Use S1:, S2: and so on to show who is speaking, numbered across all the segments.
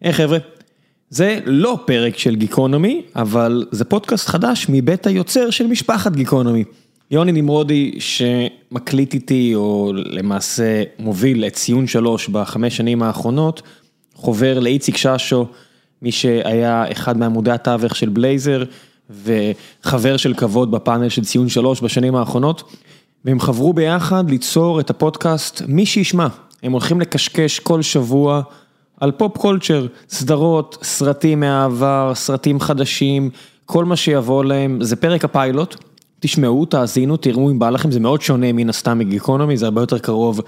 S1: היי אה, חבר'ה, זה לא פרק של גיקונומי, אבל זה פודקאסט חדש מבית היוצר של משפחת גיקונומי. יוני נמרודי שמקליט איתי, או למעשה מוביל את ציון שלוש בחמש שנים האחרונות, חובר לאיציק ששו, מי שהיה אחד מעמודי התווך של בלייזר, וחבר של כבוד בפאנל של ציון שלוש בשנים האחרונות, והם חברו ביחד ליצור את הפודקאסט מי שישמע. הם הולכים לקשקש כל שבוע על פופ קולצ'ר, סדרות, סרטים מהעבר, סרטים חדשים, כל מה שיבוא להם, זה פרק הפיילוט, תשמעו, תאזינו, תראו אם בא לכם, זה מאוד שונה מן הסתם מגיקונומי, זה הרבה יותר קרוב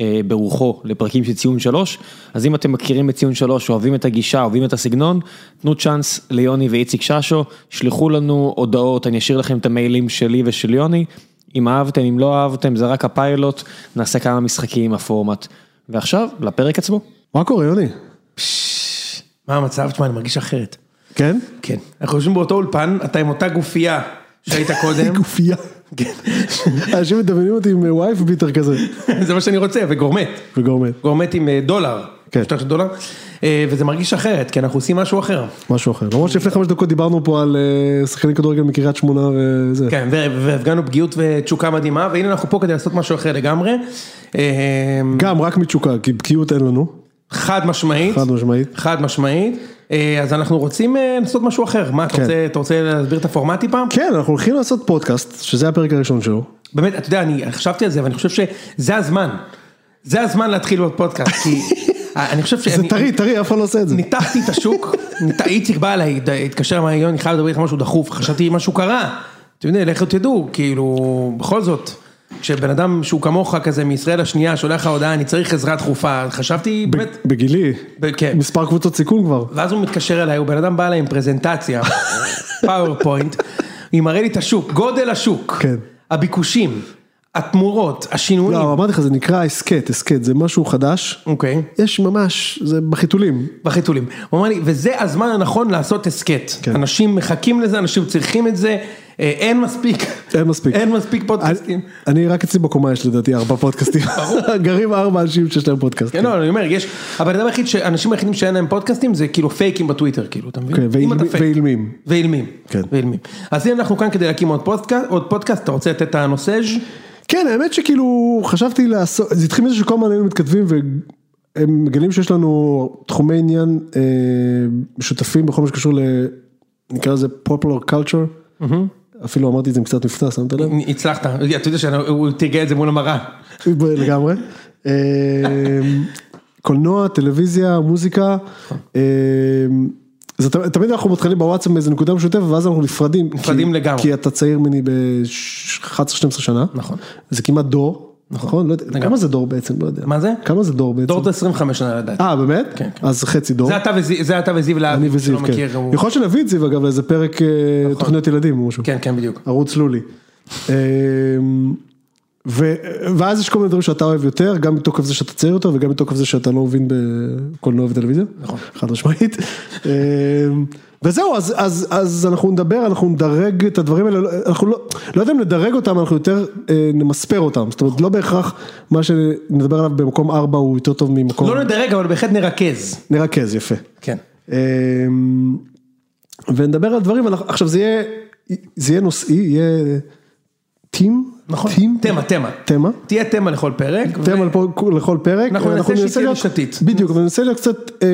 S1: אה, ברוחו לפרקים של ציון שלוש, אז אם אתם מכירים את ציון שלוש, אוהבים את הגישה, אוהבים את הסגנון, תנו צ'אנס ליוני ואיציק ששו, שלחו לנו הודעות, אני אשאיר לכם את המיילים שלי ושל יוני, אם אהבתם, אם לא אהבתם, זה רק הפיילוט, נעשה כמה משחקים, הפורמט. ועכשיו, לפרק עצמו.
S2: מה קורה, יוני?
S3: מה המצב? תשמע, אני מרגיש אחרת.
S2: כן?
S3: כן. אנחנו יושבים באותו אולפן, אתה עם אותה גופייה שהיית קודם.
S2: גופייה. כן. אנשים מדמיינים אותי עם וייף ביטר כזה,
S3: זה מה שאני רוצה, וגורמט.
S2: וגורמת.
S3: גורמט עם אה, דולר.
S2: כן.
S3: מפתח של דולר. אה, וזה מרגיש אחרת, כי אנחנו עושים משהו אחר.
S2: משהו אחר. למרות שלפני חמש דקות דיברנו פה על אה, שחקני כדורגל מקריית שמונה וזה.
S3: כן, ו- והפגנו פגיעות ותשוקה מדהימה, והנה אנחנו פה כדי לעשות משהו אחר לגמרי. אה,
S2: גם, רק מתשוקה, כי בקיאות אין לנו,
S3: חד משמעית.
S2: חד משמעית.
S3: חד משמעית. אה, אז אנחנו רוצים אה, לעשות משהו אחר. מה, אתה
S2: כן.
S3: רוצה- אתה רוצה להסביר את הפורמט טיפה?
S2: כן, אנחנו הולכים לעשות פודקאסט, שזה הפרק הראשון שלו.
S3: באמת, אתה יודע, אני חשבתי על זה, ואני חושב שזה הזמן. זה הזמן להתחיל להיות פודקאסט, כי אני חושב ש...
S2: זה טרי, טרי, אף אחד לא עושה את זה.
S3: ניתחתי את השוק, נית- איציק בא אליי, ד- התקשר, אמר לי, יוני, חייב לדבר איתך משהו דחוף, חשבתי משהו קרה. אתם יודעים, לכו תדעו, כאילו, בכל זאת, כשבן אדם שהוא כמוך כזה מישראל השנייה, שולח לך הודעה, אני צריך עזרה דחופה, חשבתי, באמת,
S2: ב- בגילי,
S3: ב- כן.
S2: מספר קבוצות סיכון כבר.
S3: ואז הוא מתקשר אליי, הוא בן אדם בא אליי עם פרזנטציה, פאורפוינט, היא מראה לי את השוק, גודל השוק,
S2: כן.
S3: הביקושים, התמורות, השינויים,
S2: לא, אמרתי לך, זה נקרא הסכת, הסכת, זה משהו חדש.
S3: אוקיי,
S2: יש ממש, זה בחיתולים.
S3: בחיתולים. הוא אמר לי, וזה הזמן הנכון לעשות הסכת.
S2: כן.
S3: אנשים מחכים לזה, אנשים צריכים את זה, אה, אין מספיק.
S2: אין מספיק.
S3: אין מספיק פודקאסטים.
S2: אני- אני רק אצלי בקומה יש לדעתי ארבע פודקאסטים. גרים ארבע אנשים שיש להם פודקאסט.
S3: כן, לא, אני אומר, יש, הבן אדם היחיד, האנשים היחידים שאין להם פודקאסטים זה כאילו פייקים בטוויטר, כאילו, אתה מבין?
S2: כן,
S3: אם אתה
S2: ואילמים-
S3: פייק.
S2: ואילמים.
S3: ואילמים.
S2: כן.
S3: ואילמים. אז הנה אנחנו כאן כדי להקים עוד פודקאסט, עוד פודקאסט, אתה רוצה לתת את הנושא?
S2: כן, האמת שכאילו חשבתי לעשות, זה התחיל מזה שכל הזמן היינו מתכתבים והם מגלים שיש לנו תחומי עניין אה, משותפים בכל מה שקשור ל... נקרא לזה פופולר קולצ'ר. אפילו אמרתי את זה עם קצת מבטא, שמת לב?
S3: הצלחת, אתה יודע שהוא תרגע את זה מול המראה.
S2: לגמרי. אה, קולנוע, טלוויזיה, מוזיקה. אה, זה ת- תמיד אנחנו מתחילים בוואטסאפ מאיזה נקודה משותפת ואז אנחנו נפרדים.
S3: נפרדים
S2: כי-
S3: לגמרי.
S2: כי אתה צעיר ממני ב-11-12 שנה.
S3: נכון.
S2: זה כמעט דור. נכון? לא יודע, כמה זה דור בעצם? לא יודע.
S3: מה זה?
S2: כמה זה דור בעצם?
S3: דור זה 25 שנה לדעתי.
S2: אה, באמת?
S3: כן, כן.
S2: אז חצי דור.
S3: לא זה אתה וזיו- זה אתה וזיו להב,
S2: אני
S3: מי
S2: וזיו,
S3: שלא
S2: כן.
S3: מכיר, הוא- נכון.
S2: יכול להיות שנביא את זיו אגב לאיזה פרק אה, תוכניות ילדים או משהו.
S3: כן, כן, בדיוק.
S2: ערוץ לולי. אמ, ו, ואז יש כל מיני דברים שאתה אוהב יותר, גם מתוקף זה שאתה צעיר יותר וגם מתוקף זה שאתה לא מבין בקולנוע וטלוויזיה, נכון, חד משמעית. אמ, וזהו, אז, אז, אז אנחנו נדבר, אנחנו נדרג את הדברים האלה, לא- אנחנו לא, לא יודע אם נדרג אותם, אנחנו יותר אה, נמספר אותם, זאת אומרת לא בהכרח מה שנדבר עליו במקום 4 הוא יותר טוב ממקום,
S3: לא נדרג, אבל בהחלט נרכז.
S2: נרכז, יפה.
S3: כן.
S2: אמ, ונדבר על דברים, אנחנו- עכשיו זה יהיה, זה יהיה נושאי, יהיה טים,
S3: נכון.
S2: טים,
S3: תמה, תמה.
S2: תמה,
S3: תהיה תמה לכל פרק. ו-
S2: תמה לפה- לכל פרק,
S3: אנחנו ננסה שהיא תהיה
S2: להיות-
S3: רשתית.
S2: בדיוק, וננסה להיות קצת, אה,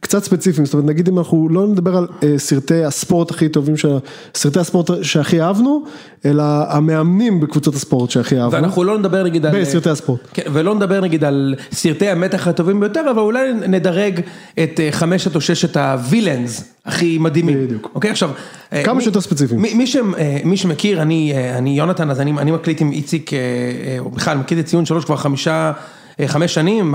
S2: קצת ספציפיים, זאת אומרת נגיד אם אנחנו לא נדבר על אה, סרטי הספורט הכי טובים, של- סרטי הספורט שהכי אהבנו, אלא המאמנים בקבוצות הספורט שהכי אהבנו,
S3: ואנחנו לא נדבר נגיד על...
S2: בסרטי הספורט.
S3: כן, ולא נדבר נגיד על סרטי המתח הטובים ביותר, אבל אולי נדרג את אה, חמשת או ששת הווילאנס הכי מדהימים.
S2: בדיוק.
S3: אוקיי, עכשיו... אה,
S2: כמה
S3: מי-
S2: שיותר ספציפיים.
S3: מי- מי שמ- אה, מי שמכיר, אני אה, אני יונתן, אז אני אני מקליט עם איציק, אה, אה, או בכלל מקליט את ציון שלוש כבר חמישה... אה, חמש שנים,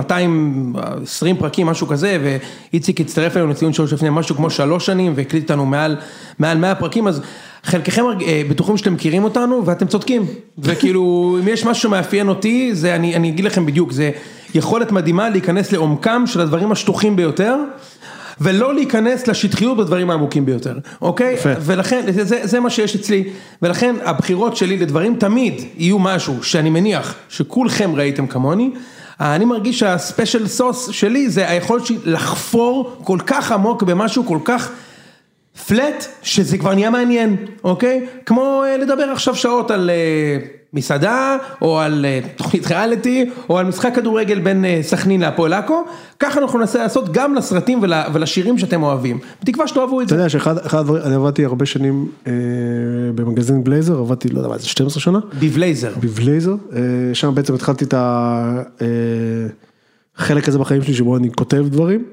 S3: 220 פרקים, משהו כזה, ואיציק הצטרף אלינו לציון שלוש לפני משהו כמו שלוש שנים, והקליט אותנו מעל, מעל 100 פרקים, אז חלקכם אה, בטוחים שאתם מכירים אותנו, ואתם צודקים. וכאילו, אם יש משהו שמאפיין אותי, זה, אני, אני אגיד לכם בדיוק, זה יכולת מדהימה להיכנס לעומקם של הדברים השטוחים ביותר, ולא להיכנס לשטחיות בדברים העמוקים ביותר, אוקיי?
S2: יפה.
S3: ולכן, זה, זה, זה מה שיש אצלי, ולכן הבחירות שלי לדברים תמיד יהיו משהו שאני מניח שכולכם ראיתם כמוני, אני מרגיש שהספיישל סוס שלי זה היכולת שלי לחפור כל כך עמוק במשהו כל כך פלט, שזה כבר נהיה מעניין, אוקיי? כמו אה, לדבר עכשיו שעות על אה, מסעדה, או על אה, תוכנית ריאליטי, או על משחק כדורגל בין אה, סכנין להפועל עכו, ככה אנחנו ננסה לעשות גם לסרטים ול, ולשירים שאתם אוהבים. בתקווה שתאהבו את
S2: אתה
S3: זה.
S2: יודע שאחד אחד הדברים, אני עבדתי הרבה שנים אה, במגזין בלייזר, עבדתי, לא יודע מה, זה 12 שנה,
S3: בבלייזר.
S2: בבלייזר, אה, שם בעצם התחלתי את החלק הזה בחיים שלי שבו אני כותב דברים,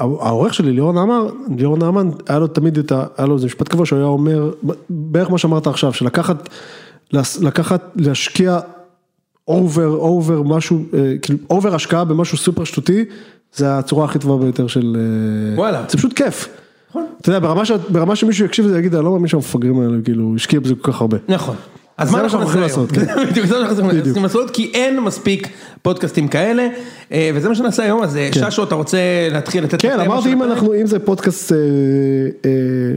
S2: והעורך שלי ליאור נעמן, ליאור נעמן, היה לו תמיד את ה... היה לו איזה משפט קבוע שהוא היה אומר, בערך מה שאמרת עכשיו, שלקחת, לס- לקחת, להשקיע אובר, אובר משהו, אה, כאילו אובר השקעה במשהו סופר שטותי, זה הצורה הכי טובה ביותר של... אה,
S3: וואלה.
S2: זה פשוט כיף. אתה יודע, ברמה, ש... ברמה שמישהו יקשיב לזה יגיד, אני לא מאמין שהמפגרים האלה, כאילו, השקיע בזה כל כך הרבה.
S3: נכון. אז
S2: זה
S3: מה
S2: מה
S3: אנחנו
S2: שאנחנו
S3: נעשה היום?
S2: הולכים לעשות, כן.
S3: בדיוק, זה מה שאנחנו צריכים לעשות, כי אין מספיק פודקאסטים כאלה, אה, וזה מה שנעשה היום, אז אה, ששו, אתה רוצה להתחיל לתת... את
S2: כן,
S3: התמה של
S2: אמרתי אם
S3: הפרק?
S2: אנחנו, אם זה פודקאסט, אה, אה,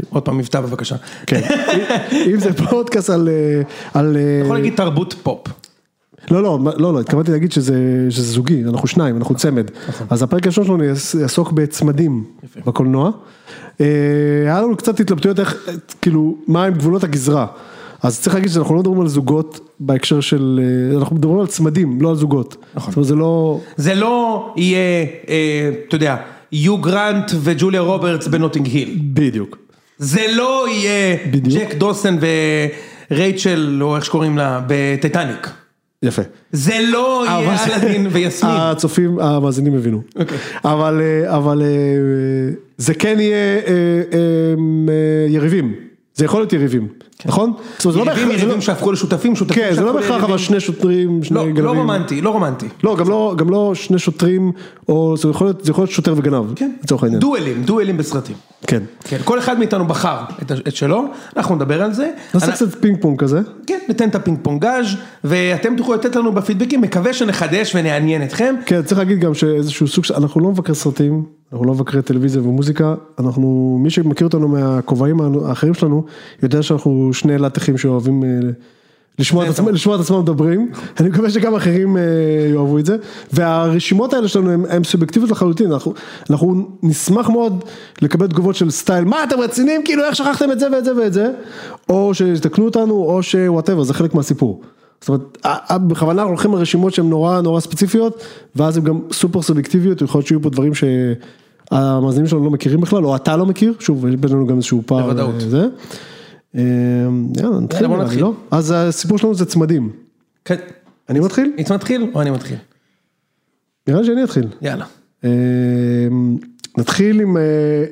S3: עוד פעם, מבטא בבקשה. אתה
S2: כן, אם- אם זה פודקאסט על, אה, על, אה,
S3: יכול להגיד תרבות פופ.
S2: לא, לא, מה- לא, לא, התכוונתי להגיד שזה שזה זוגי, אנחנו שניים, אנחנו צמד, אז הפרק הראשון שלנו יעס- יעסוק בצמדים בקולנוע, אה, היה לנו קצת התלבטויות איך, אה, כאילו, מה הם גבולות הגזרה, אז צריך להגיד שאנחנו לא מדברים על זוגות בהקשר של, אה, אנחנו מדברים על צמדים, לא על זוגות, זאת אומרת זה לא,
S3: זה לא יהיה, אה, אתה יודע, יו גרנט וג'וליה רוברטס בנוטינג היל.
S2: בדיוק,
S3: זה לא יהיה
S2: בדיוק.
S3: ג'ק דוסן ורייצ'ל, או איך שקוראים לה, בטיטניק.
S2: יפה.
S3: זה לא
S2: אה,
S3: יהיה אלאדין ויסמין. אוקיי.
S2: הצופים, המאזינים הבינו. אבל, אה, אבל אה, אה, זה כן יהיה אה, אה, אה, יריבים. זה יכול להיות יריבים, נכון? זאת אומרת, זה לא
S3: כן. יריבים
S2: בהכרח- זה לא-
S3: יריבים שהפכו לשותפים, שותפים
S2: כן, זה לא
S3: שהפכו
S2: בהכרח
S3: ליריבים.
S2: אבל שני שוטרים, שני
S3: לא,
S2: גנבים.
S3: לא רומנטי, לא רומנטי.
S2: לא, גם לא, גם לא שני שוטרים, או זה יכול להיות, זה יכול להיות שוטר וגנב,
S3: כן.
S2: לצורך העניין.
S3: דואלים, דואלים בסרטים.
S2: כן.
S3: כן, כל אחד מאיתנו בחר את, ה- את שלו, אנחנו נדבר על זה.
S2: נעשה
S3: אני-
S2: קצת פינג פונג כזה.
S3: כן, ניתן את הפינג פונגאז' ואתם תוכלו לתת לנו בפידבקים, מקווה שנחדש ונעניין אתכם.
S2: כן, צריך להגיד גם שאיזשהו סוג של, אנחנו לא מבקרי סרטים, אנחנו לא מבקרי טלוויזיה ומוזיקה, אנחנו, מי שמכיר אותנו מהכובעים האחרים שלנו, יודע שאנחנו שני לטחים שאוהבים אה, לשמוע את, עצמם, לשמוע את עצמם מדברים, אני מקווה שגם אחרים אה, יאהבו את זה, והרשימות האלה שלנו הן- הן סובייקטיביות לחלוטין, אנחנו, אנחנו נשמח מאוד לקבל תגובות של סטייל, מה אתם רציניים, כאילו איך שכחתם את זה ואת זה ואת זה, או שתקנו אותנו, או שוואטאבר, זה חלק מהסיפור. זאת אומרת, ה- ה- בכוונה אנחנו הולכים לרשימות שהן נורא נורא ספציפיות, ואז הן גם סופר סובייקטיביות, יכול להיות שיהיו פה דברים שהמאזינים שלנו לא מכירים בכלל, או אתה לא מכיר, שוב, יש בינינו גם איזשהו פער.
S3: בוודאות.
S2: אה, זה. אה, יאללה, נתחיל,
S3: בוא
S2: נראה לי,
S3: נתחיל.
S2: לא? אז הסיפור שלנו זה צמדים.
S3: כן.
S2: אני מתחיל?
S3: איץ מתחיל או אני מתחיל?
S2: נראה לי שאני אתחיל.
S3: יאללה.
S2: אה, נתחיל עם אה,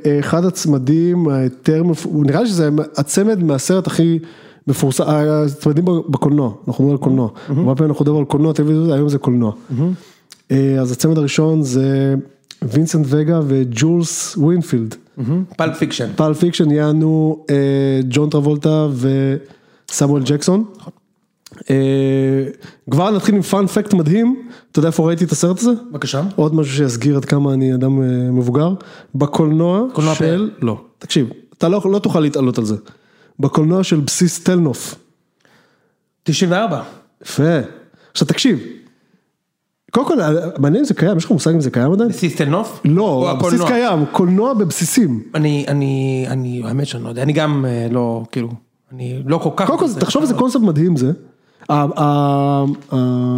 S2: אה, אחד הצמדים היותר, מפ- הוא נראה לי שזה הצמד מהסרט הכי מפורסם, אה, הצמדים בקולנוע, אנחנו מדברים על קולנוע, הרבה פעמים אנחנו מדברים על קולנוע, טלוויזיה, היום זה קולנוע. אה, אז הצמד הראשון זה וינסנט וגה וג'ולס ווינפילד,
S3: פלפ פיקשן.
S2: פל פיקשן יענו אה, ג'ון טרבולטה וסמואל ג'קסון. אה, כבר נתחיל עם פאנ פקט מדהים, אתה יודע איפה ראיתי את הסרט הזה?
S3: בבקשה.
S2: עוד משהו שיסגיר עד כמה אני אדם אה, מבוגר, בקולנוע
S3: קולנוע
S2: של,
S3: לא.
S2: תקשיב, אתה לא, לא תוכל להתעלות על זה, בקולנוע של בסיס תלנוף,
S3: 94.
S2: יפה, עכשיו תקשיב, קודם כל, אה, מעניין אם זה קיים, יש לך מושג אם זה קיים עדיין?
S3: בסיס תל נוף? או
S2: לא, בסיס
S3: הקולנוע?
S2: קיים, קולנוע בבסיסים,
S3: אני, אני, אני, האמת שאני לא יודע, אני גם אה, לא, כאילו, אני לא כל כך...
S2: קודם כל,
S3: כזה.
S2: תחשוב איזה קונספט מדהים זה. ה- ה- ה-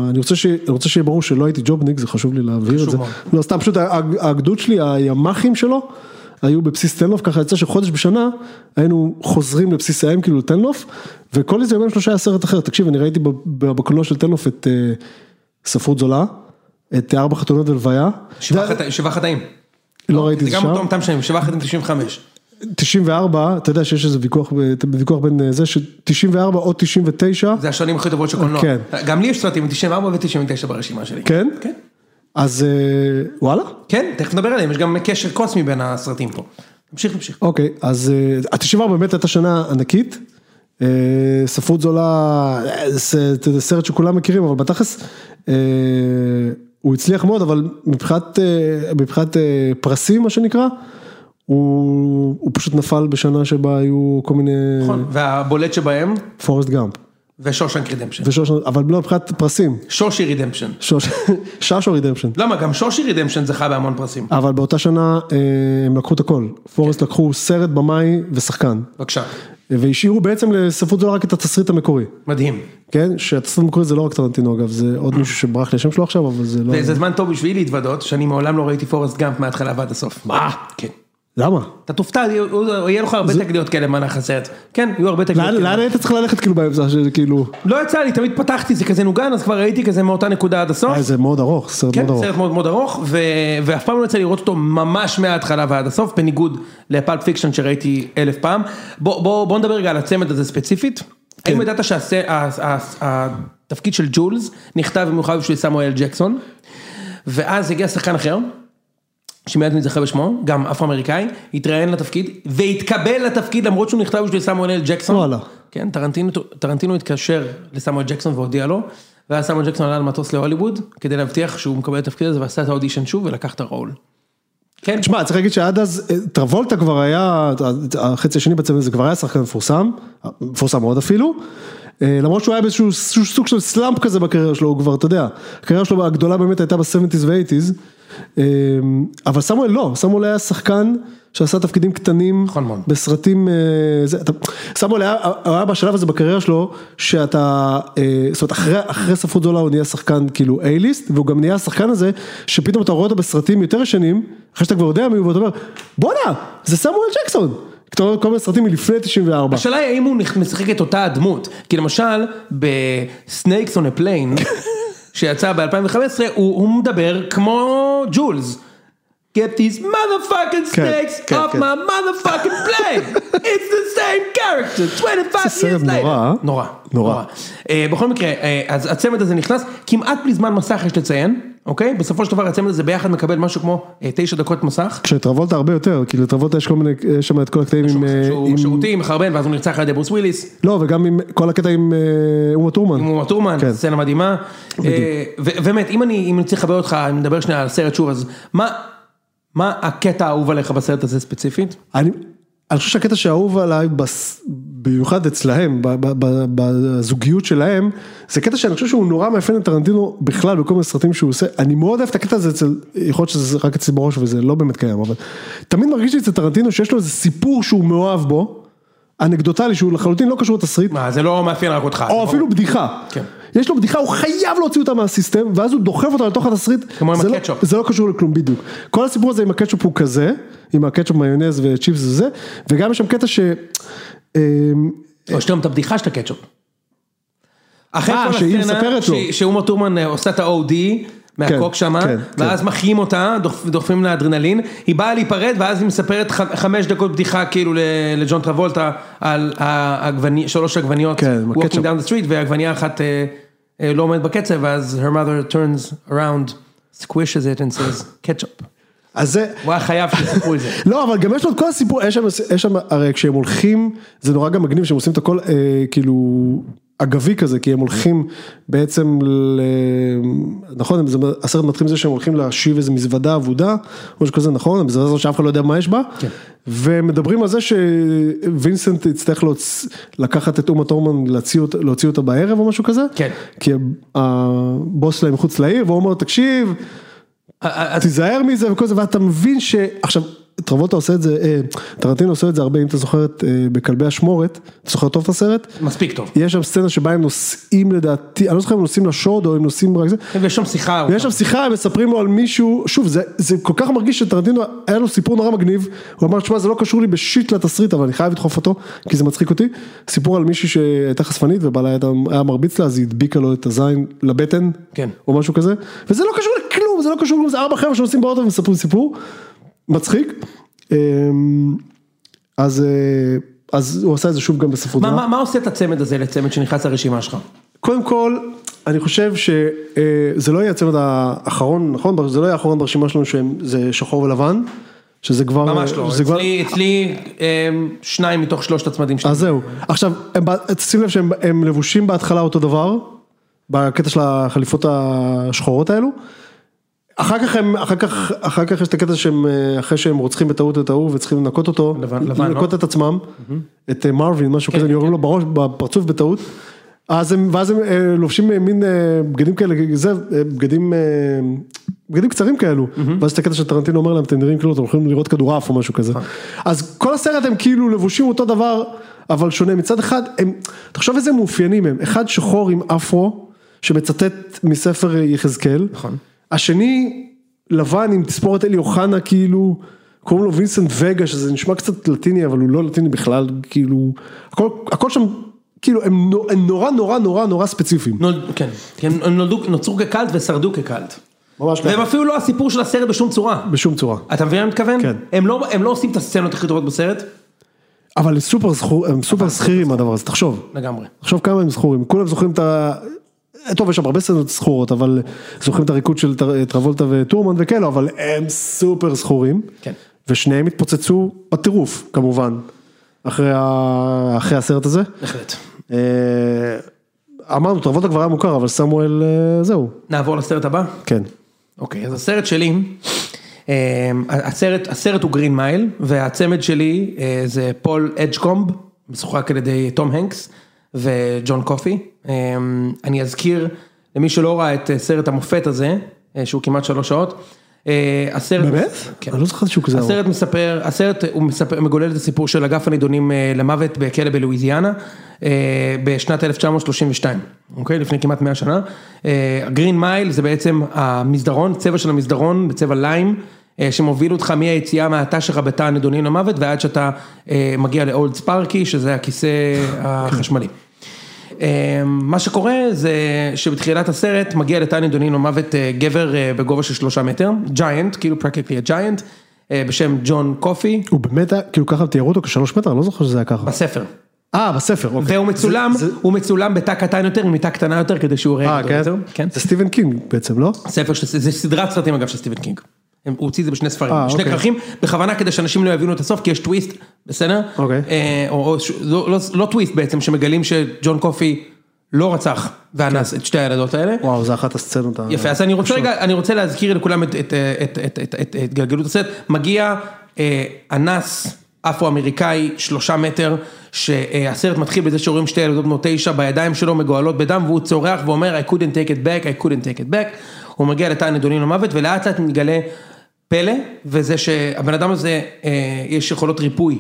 S2: אני רוצה ש- אני רוצה שיהיה ברור שלא הייתי ג'ובניק, זה חשוב לי להבהיר את
S3: חשוב
S2: זה.
S3: מאוד.
S2: לא, סתם, פשוט ה- ה- הגדוד שלי, הימ"חים שלו, היו בבסיס תל נוף, ככה יצא שחודש בשנה היינו חוזרים לבסיס האם, כאילו לתל נוף, וכל איזה יומיים שלושה היה סרט אחר. תקשיב, אני ראיתי ב- ב- בקולנוע של תל נוף את אה, ספרות זולה, את אה, ארבע חתונות ולוויה.
S3: שבעה
S2: זה-
S3: חטא- שבעה חטאים.
S2: לא ראיתי
S3: זה
S2: את זה
S3: גם
S2: שם.
S3: אותו אותם שנים, שבעה חטאים 95.
S2: 94, אתה יודע שיש איזה ויכוח, ב- ויכוח בין אה, זה, ש-94 או 99.
S3: זה השנים הכי טובות של קולנוע.
S2: כן.
S3: גם לי יש סרטים, 94 ו-99 ברשימה שלי.
S2: כן?
S3: כן.
S2: אז אה, וואלה,
S3: כן, תכף נדבר עליהם, יש גם קשר קוסמי בין הסרטים פה. תמשיך, תמשיך.
S2: אוקיי, אז ה-94 באמת הייתה שנה ענקית, אה, ספרות זולה, אה, זה זה סרט שכולם מכירים, אבל בתכלס אה, הוא הצליח מאוד, אבל מבחינת, אה, מבחינת אה, פרסים מה שנקרא, הוא, הוא פשוט נפל בשנה שבה היו כל מיני אה.
S3: נכון, והבולט שבהם,
S2: פורסט גאמפ.
S3: ושושנק רידמפשן.
S2: ושוש, אבל לא מבחינת פרסים,
S3: שושי רידמפשן.
S2: שוש, ששו רידמפשן.
S3: למה? גם שושי רידמפשן זכה בהמון פרסים.
S2: אבל באותה שנה אה, הם לקחו את הכל, פורסט לקחו סרט, במאי ושחקן,
S3: בבקשה.
S2: והשאירו בעצם לספרות זו רק את התסריט המקורי,
S3: מדהים.
S2: כן? שהתסריט המקורי זה לא רק טרנטינו אגב, זה עוד מישהו שברח לי השם שלו עכשיו, אבל זה לא...
S3: וזה זמן טוב בשבילי להתוודות, שאני מעולם לא ראיתי פורסט גאמפ מההתחלה ועד הסוף. מה? כן.
S2: למה?
S3: אתה תופתע, יהיו- יהיה לך הרבה תקדיות כאלה במהלך הסרט. כן, יהיו הרבה תקדיות
S2: לאן
S3: כאלה.
S2: לאן היית צריך ללכת כאילו באמצע שזה כאילו...
S3: לא יצא לי, תמיד פתחתי, זה כזה נוגן, אז כבר ראיתי כזה מאותה נקודה עד הסוף.
S2: אה, זה מאוד ארוך, סרט מאוד
S3: כן,
S2: ארוך.
S3: סרט מאוד מאוד ארוך, ו... ואף פעם לא יצא לי לראות אותו ממש מההתחלה ועד הסוף, בניגוד לפלפ פיקשן שראיתי אלף פעם. בוא, בוא, בוא נדבר רגע על הצמד הזה ספציפית. כן. האם ידעת שהתפקיד של ג'ולס נכתב במיוחד בשביל סמואל ג'קסון, ואז הגיע שחקן אחר, שמיד אני זוכר בשמו, גם אפרו-אמריקאי, התראיין לתפקיד, והתקבל לתפקיד למרות שהוא נכתב בשביל סמואל אל ג'קסון.
S2: וואלה.
S3: כן, טרנטינו, טרנטינו התקשר לסמואל ג'קסון והודיע לו, ואז סמואל ג'קסון עלה על מטוס להוליווד, כדי להבטיח שהוא מקבל את התפקיד הזה ועשה את האודישן שוב ולקח את הרול. כן,
S2: תשמע, צריך להגיד שעד אז, אה, טרבולטה כבר היה, החצי השני בצוות הזה כבר היה שחקן מפורסם, מפורסם מאוד אפילו, אה, למרות שהוא היה באיזשהו איזשהו סוג של סלאמפ כזה בקריירה שלו, הוא כבר, אתה יודע, הקריירה שלו הגדולה באמת הייתה ב-70's ו-80's, אה, אבל סמואל לא, סמואל היה שחקן שעשה תפקידים קטנים,
S3: נכון מאוד.
S2: בסרטים, אה, זה, אתה, סמואל היה, היה בשלב הזה בקריירה שלו, שאתה, אה, זאת אומרת, אחרי, אחרי ספרות גדולה הוא נהיה שחקן כאילו A-ליסט, והוא גם נהיה השחקן הזה, שפתאום אתה רואה אותו בסרטים יותר ישנים, אחרי שאתה כבר יודע מי הוא, ואתה אומר, בואנה, זה סמואל ג'קסון. אתה רואה כל מיני סרטים מלפני 94.
S3: השאלה היא האם הוא נכ- משחק את אותה הדמות, כי למשל בסנייקס און הפליין, שיצא ב-2015, הוא, הוא מדבר כמו ג'ולס. Get these motherfucking
S2: כן,
S3: snakes
S2: כן,
S3: off
S2: כן.
S3: my motherfucking plane! It's the same character, 25
S2: זה סרט
S3: years later.
S2: נורא, אה?
S3: נורא.
S2: נורא.
S3: אה, בכל מקרה, אה, אז הצמד הזה נכנס כמעט בלי זמן מסך, יש לציין, אוקיי? בסופו של דבר הצמד הזה ביחד מקבל משהו כמו אה, תשע דקות מסך.
S2: כשטרבולטה הרבה יותר, כאילו לטרבולטה יש כל מיני, יש שם את כל הקטעים עם... אה, עם-
S3: שהוא שירותים, חרבן, ואז הוא נרצח על ידי ברוס וויליס.
S2: לא, וגם עם כל הקטע עם אה, אומה טורמן.
S3: עם אומה טורמן,
S2: כן.
S3: סצנה מדהימה. אה, ו- באמת, אם אני, אם אני צריך לחבר אותך, אני מדבר שנייה על הסרט שוב, אז מה, מה הקטע האהוב עליך בסרט הזה ספציפית?
S2: אני, אני חושב שהקטע שאהוב עליי, בס, במיוחד אצלהם, ב- ב- ב- בזוגיות שלהם, זה קטע שאני חושב שהוא נורא מאפיין את טרנטינו בכלל בכל מיני סרטים שהוא עושה, אני מאוד אוהב את הקטע הזה אצל, יכול להיות שזה רק אצלי בראש וזה לא באמת קיים, אבל תמיד מרגיש לי אצל טרנטינו שיש לו איזה סיפור שהוא מאוהב בו, אנקדוטלי, שהוא לחלוטין לא קשור לתסריט,
S3: מה, זה לא מאפיין רק אותך.
S2: או
S3: זה
S2: אפילו
S3: ברור.
S2: בדיחה.
S3: כן.
S2: יש לו בדיחה, הוא חייב להוציא אותה מהסיסטם, ואז הוא דוחף אותה לתוך התסריט.
S3: כמו עם
S2: זה לא-
S3: הקטשופ.
S2: זה לא קשור לכלום בדיוק. כל הסיפור הזה עם הקטשופ הוא כזה, עם הקטשופ, מיונז וצ'יפס וזה, וגם יש שם קטע ש... אמ,
S3: או יש גם את הבדיחה של הקטשופ. אחרי
S2: אה,
S3: כל
S2: שהיא
S3: הסצנה
S2: מספרת
S3: ש-
S2: לו.
S3: שאומה טורמן אה, עושה את ה-OD. מהקוק
S2: כן,
S3: שמה,
S2: כן,
S3: ואז מחיים אותה, דוחפ- דוחפים לה אדרנלין, היא באה להיפרד ואז היא מספרת ח- חמש דקות בדיחה כאילו ל- לג'ון טרבולטה על העגבני, שלוש עגבניות,
S2: כן, עם
S3: walking
S2: הקטשופ.
S3: down the street והעגבנייה אחת אה, אה, לא עומדת בקצב, ואז her mother turns around, squishes it and says ketchup.
S2: אז זה...
S3: הוא היה חייב שיספרו את זה.
S2: לא, אבל גם יש לו את כל הסיפור, יש שם, יש שם הרי כשהם הולכים, זה נורא גם מגניב שהם עושים את הכל אה, כאילו אגבי כזה, כי הם הולכים בעצם, ל... נכון, זה, הסרט מתחיל מזה שהם הולכים להשיב איזה מזוודה אבודה, משהו כזה נכון, המזוודה הזאת שאף אחד לא יודע מה יש בה, כן. ומדברים על זה שווינסנט יצטרך להוצ... לקחת את אומה טורמן, להוציא אותה, להוציא אותה בערב או משהו כזה,
S3: כן.
S2: כי הבוס שלהם מחוץ לעיר, והוא אומר, תקשיב,
S3: אז
S2: תיזהר מזה וכל זה, ואתה מבין ש... עכשיו, טרבולטה עושה את זה, אה, טרנטינו עושה את זה הרבה, אם אתה זוכר את אה, בכלבי אשמורת, אתה זוכר טוב את הסרט?
S3: מספיק טוב.
S2: יש שם סצנה שבה הם נוסעים לדעתי, אני לא זוכר אם הם נוסעים לשוד או הם נוסעים רק זה,
S3: ויש שם שיחה.
S2: ויש שם שיחה, הם מספרים לו על מישהו, שוב, זה, זה כל כך מרגיש שטרנטינו, היה לו סיפור נורא מגניב, הוא אמר, תשמע, זה לא קשור לי בשיט לתסריט, אבל אני חייב לדחוף אותו, כי זה מצחיק אותי, סיפור על מישהי שהייתה חשפנית ובעלה הייתה- היה מרביץ לה, אז היא הדביקה לו את הזין לבטן,
S3: כן.
S2: או משהו כזה, וזה לא קשור לכלום, זה לא קשור לכלום, זה ארבע חבר'ה שנוסעים באוטו ומספרים סיפור, מצחיק, אמ, אז, אה, אז הוא עשה את זה שוב גם בספרות.
S3: מה-
S2: זרה.
S3: מה מה עושה את הצמד הזה לצמד שנכנס לרשימה שלך?
S2: קודם כל, אני חושב שזה לא יהיה הצמד האחרון, נכון? זה לא יהיה האחרון ברשימה שלנו שזה שחור ולבן, שזה כבר...
S3: ממש לא,
S2: שזה אה, כבר-
S3: אצלי, אצלי אמ, שניים מתוך שלושת הצמדים שלי.
S2: אז זהו. עכשיו, הם בא- שים לב שהם הם לבושים בהתחלה אותו דבר, בקטע של החליפות השחורות האלו. אחר כך הם, אחר כך, אחר כך יש את הקטע שהם, אה, אחרי שהם רוצחים בטעות את ההוא וצריכים לנקות אותו,
S3: לבן- לבן,
S2: לנקות
S3: לא?
S2: את עצמם, את אה, מרווין, משהו כזה, יורים לו בראש, בפרצוף בטעות. אז הם, ואז הם אה, לובשים אה, מין אה, בגדים כאלה, זה, אה, בגדים, אה, בגדים קצרים כאלו, ואז את הקטע של טרנטינו אומר להם, אתם נראים כאילו אתם הולכים לראות כדורעף או משהו כזה. אז כל הסרט הם כאילו לבושים אותו דבר, אבל שונה. מצד אחד, הם, תחשוב איזה מאופיינים הם, אחד שחור עם אפרו, שמצטט מספר אה, יחזקאל,
S3: נכון.
S2: השני לבן עם תספורת אלי אוחנה כאילו, קוראים לו וינסנט וגה שזה נשמע קצת לטיני אבל הוא לא לטיני בכלל, כאילו, הכל, הכל שם, כאילו הם, נו- הם נורא נורא נורא נורא ספציפיים.
S3: נולד, כן, כי הם הם נולדו, נוצרו כקאלט ושרדו כקאלט.
S2: ממש
S3: והם
S2: ככה.
S3: אפילו לא הסיפור של הסרט בשום צורה.
S2: בשום צורה.
S3: אתה מבין מה אני מתכוון?
S2: כן.
S3: הם לא, הם לא עושים את הסצנות הכי טובות בסרט,
S2: אבל הם סופר זכור, הם סופר זכירים הדבר הזה, תחשוב.
S3: לגמרי.
S2: תחשוב כמה הם זכורים, כולם זוכרים את ה... טוב, יש שם הרבה סצנות זכורות, אבל זוכרים את הריקוד של טר- טרבולטה וטורמן וכאלו, אבל הם סופר זכורים.
S3: כן.
S2: ושניהם התפוצצו בטירוף, כמובן, אחרי, ה... אחרי הסרט הזה.
S3: בהחלט.
S2: אה, אמרנו, טרבולטה כבר היה מוכר, אבל סמואל, אה, זהו,
S3: נעבור לסרט הבא?
S2: כן.
S3: אוקיי, אז הסרט שלי, אה, הסרט, הסרט הוא גרין מייל, והצמד שלי אה, זה פול אג'קומב, משוחק על ידי תום הנקס וג'ון קופי. אה, אני אזכיר למי שלא ראה את אה, סרט המופת הזה, אה, שהוא כמעט שלוש שעות. אה, הסרט...
S2: באמת?
S3: כן.
S2: אני לא זוכר שהוא כזה ארוך.
S3: הסרט מספר, הסרט הוא מספר, מגולל את הסיפור של אגף הנידונים אה, למוות בכלא בלואיזיאנה אה, בשנת 1932, אוקיי? לפני כמעט 100 שנה. גרין מייל זה בעצם המסדרון, צבע של המסדרון בצבע ליים, אה, שמוביל אותך מהיציאה מהתא שלך בתא הנידונים למוות ועד שאתה אה, מגיע לאולד ספארקי, שזה הכיסא החשמלי. אה, מה שקורה זה שבתחילת הסרט מגיע לטני דונין למוות אה, גבר אה, בגובה של שלושה מטר, ג'יינט, כאילו practically a giant, אה, בשם ג'ון קופי,
S2: הוא באמת, היה- כאילו ככה תיארו אותו כשלוש מטר, אני לא זוכר שזה היה ככה.
S3: בספר.
S2: אה, בספר, אוקיי.
S3: והוא מצולם,
S2: זה- זה-
S3: הוא מצולם בתא קטן יותר, ממיטה קטנה יותר, כדי שהוא יראה
S2: אה,
S3: גדול יותר.
S2: כן? זה סטיבן קינג בעצם, לא?
S3: ספר, של- זה סדרת סרטים אגב של סטיבן קינג. הם- הוא הוציא את זה בשני ספרים,
S2: אה,
S3: שני
S2: אוקיי.
S3: כרכים, בכוונה כדי שאנשים לא יבינו את הסוף, כי יש טוויסט, בסדר?
S2: אוקיי.
S3: אה, או, או ש- לא, לא, לא טוויסט בעצם, שמגלים שג'ון קופי לא רצח ואנס את שתי הילדות האלה.
S2: וואו, זה אחת הסצנות. ה-
S3: יפה, אז אני רוצה רגע, אני רוצה להזכיר לכולם את, את, את, את, את, את, את גלגלות הסרט. מגיע אה, אנס אפרו-אמריקאי, שלושה מטר, שהסרט מתחיל בזה שרואים שתי ילדות בנות תשע בידיים שלו מגואלות בדם, והוא צורח ואומר, I couldn't take it back, I couldn't take it back. הוא מגיע לתא הנדונים למוות, ולאט לאט מתגלה פלא, וזה שהבן אדם הזה, אה, יש יכולות ריפוי.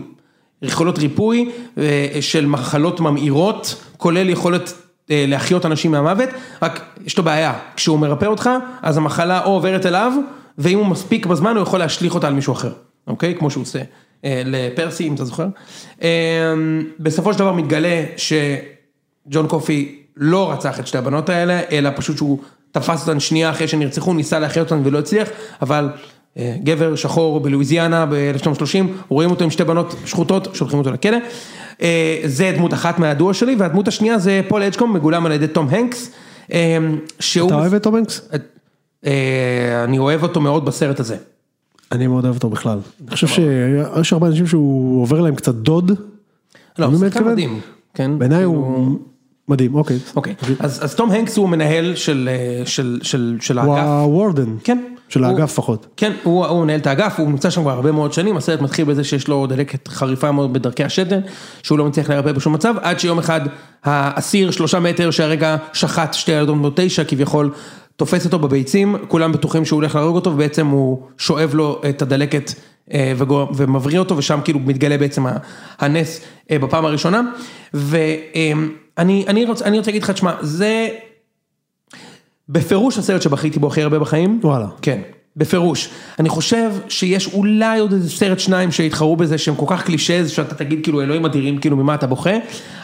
S3: יכולות ריפוי אה, של מחלות ממאירות, כולל יכולת אה, להחיות אנשים מהמוות, רק יש לו בעיה, כשהוא מרפא אותך, אז המחלה או עוברת אליו, ואם הוא מספיק בזמן הוא יכול להשליך אותה על מישהו אחר, אוקיי? כמו שהוא עושה אה, לפרסי, אם אתה זוכר. אה, בסופו של דבר מתגלה שג'ון קופי לא רצח את שתי הבנות האלה, אלא פשוט שהוא תפס אותן שנייה אחרי שנרצחו, ניסה להחיות אותן ולא הצליח, אבל אה, גבר שחור בלואיזיאנה ב-1930, רואים אותו עם שתי בנות שחוטות, שולחים אותו לכלא. אה, זה דמות אחת מהדואו שלי, והדמות השנייה זה פול אג'קום, מגולם על ידי תום הנקס, אה, שהוא...
S2: אתה אוהב את טום הנקס?
S3: אה, אני אוהב אותו מאוד בסרט הזה.
S2: אני מאוד אוהב אותו בכלל. אני חושב שיש הרבה אנשים שהוא עובר להם קצת דוד.
S3: לא,
S2: אני
S3: הוא
S2: באמת
S3: שחקן
S2: מתכוון.
S3: מדהים. כן?
S2: בעיניי הוא מדהים, אוקיי.
S3: אוקיי, אז אז תום הנקס הוא מנהל של, אה, של, של, של
S2: הוא
S3: האגף.
S2: הוורדן.
S3: כן.
S2: של
S3: הוא-
S2: האגף לפחות.
S3: כן, הוא, הוא מנהל את האגף, הוא נמצא שם כבר הרבה מאוד שנים, הסרט מתחיל בזה שיש לו דלקת חריפה מאוד בדרכי השתן, שהוא לא מצליח להרפא בשום מצב, עד שיום אחד האסיר שלושה מטר שהרגע שחט שתי ילדות בנות תשע כביכול, תופס אותו בביצים, כולם בטוחים שהוא הולך להרוג אותו, ובעצם הוא שואב לו את הדלקת אה, וגו- ומבריא אותו, ושם כאילו מתגלה בעצם ה- הנס אה, בפעם הראשונה. ואני אני רוצה, אני רוצה להגיד לך, תשמע, זה... בפירוש הסרט שבכיתי בו הכי הרבה בחיים.
S2: וואלה.
S3: כן, בפירוש. אני חושב שיש אולי עוד איזה סרט שניים שהתחרו בזה, שהם כל כך קלישז, שאתה תגיד כאילו אלוהים אדירים, כאילו ממה אתה בוכה,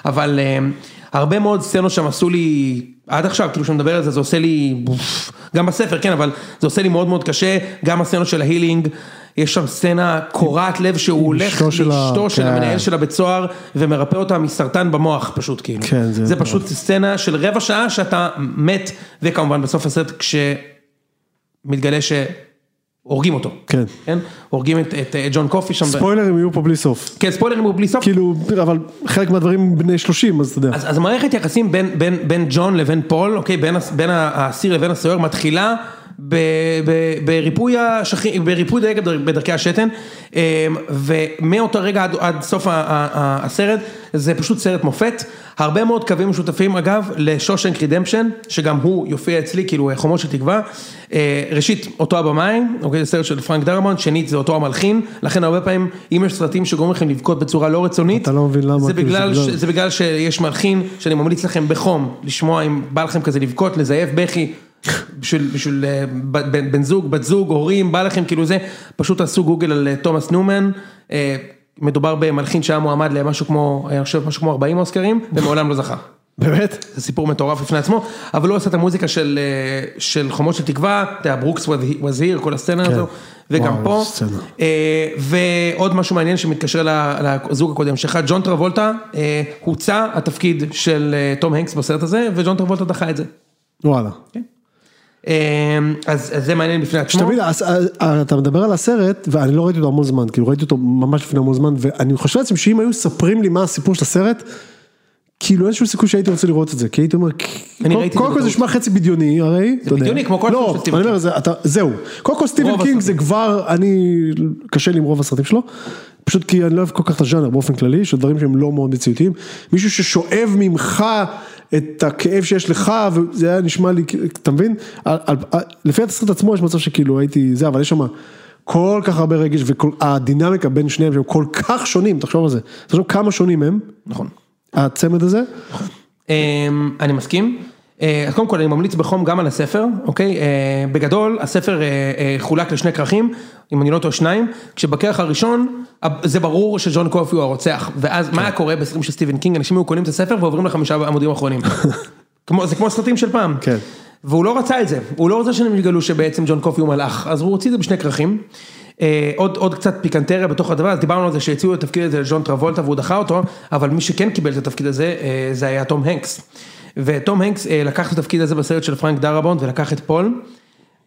S3: אבל אמ, הרבה מאוד סצנות שם עשו לי, עד עכשיו, כאילו כשאני מדבר על זה, זה עושה לי, בוף, גם בספר, כן, אבל זה עושה לי מאוד מאוד קשה, גם הסצנות של ההילינג, יש שם סצנה קורעת לב שהוא הולך
S2: אשתו של ה-
S3: לאשתו של
S2: כן.
S3: המנהל של הבית סוהר, ומרפא אותה מסרטן במוח פשוט, כאילו.
S2: כן, זה-
S3: זה פשוט סצנה של רבע שעה שאתה מת, וכמובן בסוף הסרט כשמתגלה שהורגים אותו.
S2: כן.
S3: כן? הורגים את, את, אה, ג'ון קופי שם. ב-
S2: ספוילרים יהיו פה בלי סוף.
S3: כן, ספוילרים הוא בלי סוף.
S2: כאילו, אבל חלק מהדברים בני 30, אז אתה יודע.
S3: אז, אז מערכת יחסים בין, בין, בין ג'ון לבין פול, אוקיי, בין, הס- בין האסיר לבין הסוהר מתחילה ב- ב- בריפוי, השכי, בריפוי דלקת בדרכי השתן, אמ, ומאותו רגע עד, עד סוף ה- ה- ה- הסרט, זה פשוט סרט מופת. הרבה מאוד קווים משותפים אגב לשושנק רידמפשן, שגם הוא יופיע אצלי, כאילו חומות של תקווה. אה, ראשית, אותו הבמאי, אוקיי, זה סרט של פרנק דרמון, שנית זה אותו המלחין, לכן הרבה פעמים, אם יש סרטים שגורמים לכם לבכות בצורה לא רצונית,
S2: אתה לא מבין למה,
S3: זה
S2: כאילו, זה
S3: בגלל, ש...
S2: בגלל.
S3: זה בגלל שיש מלחין, שאני ממליץ לכם בחום, לשמוע אם בא לכם כזה לבכות, לזייף בכי, בשביל, בשביל אה, ב- בן, בן זוג, בת זוג, הורים, בא לכם כאילו זה, פשוט תעשו גוגל על אה, תומאס ניומן, אה, מדובר במלחין שהיה מועמד למשהו כמו, אה, אני חושב משהו כמו 40 אוסקרים, ומעולם לא זכה.
S2: באמת?
S3: זה סיפור מטורף בפני עצמו, אבל הוא עשה את המוזיקה של, אה, של חומות של תקווה, אתה יודע, ברוקס וזהיר, כל הסצנה
S2: כן.
S3: הזו, וגם
S2: וואו,
S3: פה.
S2: סצנה.
S3: אה, ועוד משהו מעניין שמתקשר ל- לזוג הקודם שלך, ג'ון טרבולטה, אה, הוצע התפקיד של אה, תום הנקס בסרט הזה, וג'ון טרבולטה דחה את זה.
S2: וואלה.
S3: כן. אה, אז אז זה מעניין בפני עצמו.
S2: שתבין, אז- אז- אתה מדבר על הסרט, ואני לא ראיתי אותו המון זמן, כאילו ראיתי אותו ממש לפני המון זמן, ואני חושב לעצמי שאם היו מספרים לי מה הסיפור של הסרט, כאילו אין שום סיכוי שהייתי רוצה לראות את זה, כי הייתי אומר,
S3: אני
S2: קודם-
S3: ראיתי את זה
S2: קודם כל זה
S3: בטעות.
S2: נשמע חצי בדיוני הרי, אתה יודע.
S3: בדיוני, כמו כל הסרט של
S2: לא,
S3: סטיבן
S2: אני אומר, זה- אתה- זהו, קודם כל סטיבן
S3: רוב
S2: קינג זה
S3: הסרטים.
S2: כבר, אני, קשה לי עם רוב הסרטים שלו, פשוט כי אני לא אוהב כל כך את הז'אנר באופן כללי, של דברים שהם לא מאוד מציאותיים, מישהו ששואב ממך את הכאב שיש לך, וזה היה נשמע לי, כ- אתה מבין? על- על- על- לפי התסריט עצמו יש מצב שכאילו הייתי זה, אבל יש שם כל כך הרבה רגש, והדינמיקה בין שניהם שהם כל כך שונים, תחשוב על זה, תחשוב כמה שונים הם,
S3: נכון.
S2: הצמד הזה,
S3: אמ, אני מסכים. אה, אז קודם כל אני ממליץ בחום גם על הספר, אוקיי? אה, בגדול הספר אה, אה, חולק לשני כרכים, אם אני לא טועה שניים, כשבכרך הראשון הב- זה ברור שג'ון קופי הוא הרוצח, ואז מה היה קורה בסרטים של סטיבן קינג, אנשים היו קונים את הספר ועוברים לחמישה עמודים האחרונים. כמו, זה כמו הסרטים של פעם.
S2: כן.
S3: והוא לא רצה את זה, הוא לא רצה שהם יגלו שבעצם ג'ון קופי הוא מלאך, אז הוא הוציא את זה בשני כרכים. אה, עוד, עוד קצת פיקנטריה בתוך הדבר, אז דיברנו על זה שהציעו את התפקיד הזה לג'ון טרבולטה והוא דחה אותו, אבל מי שכן קיבל את התפקיד הזה אה, זה היה תום הנקס. ותום הנקס אה, לקח את התפקיד הזה בסרט של פרנק דרבונד ולקח את פול,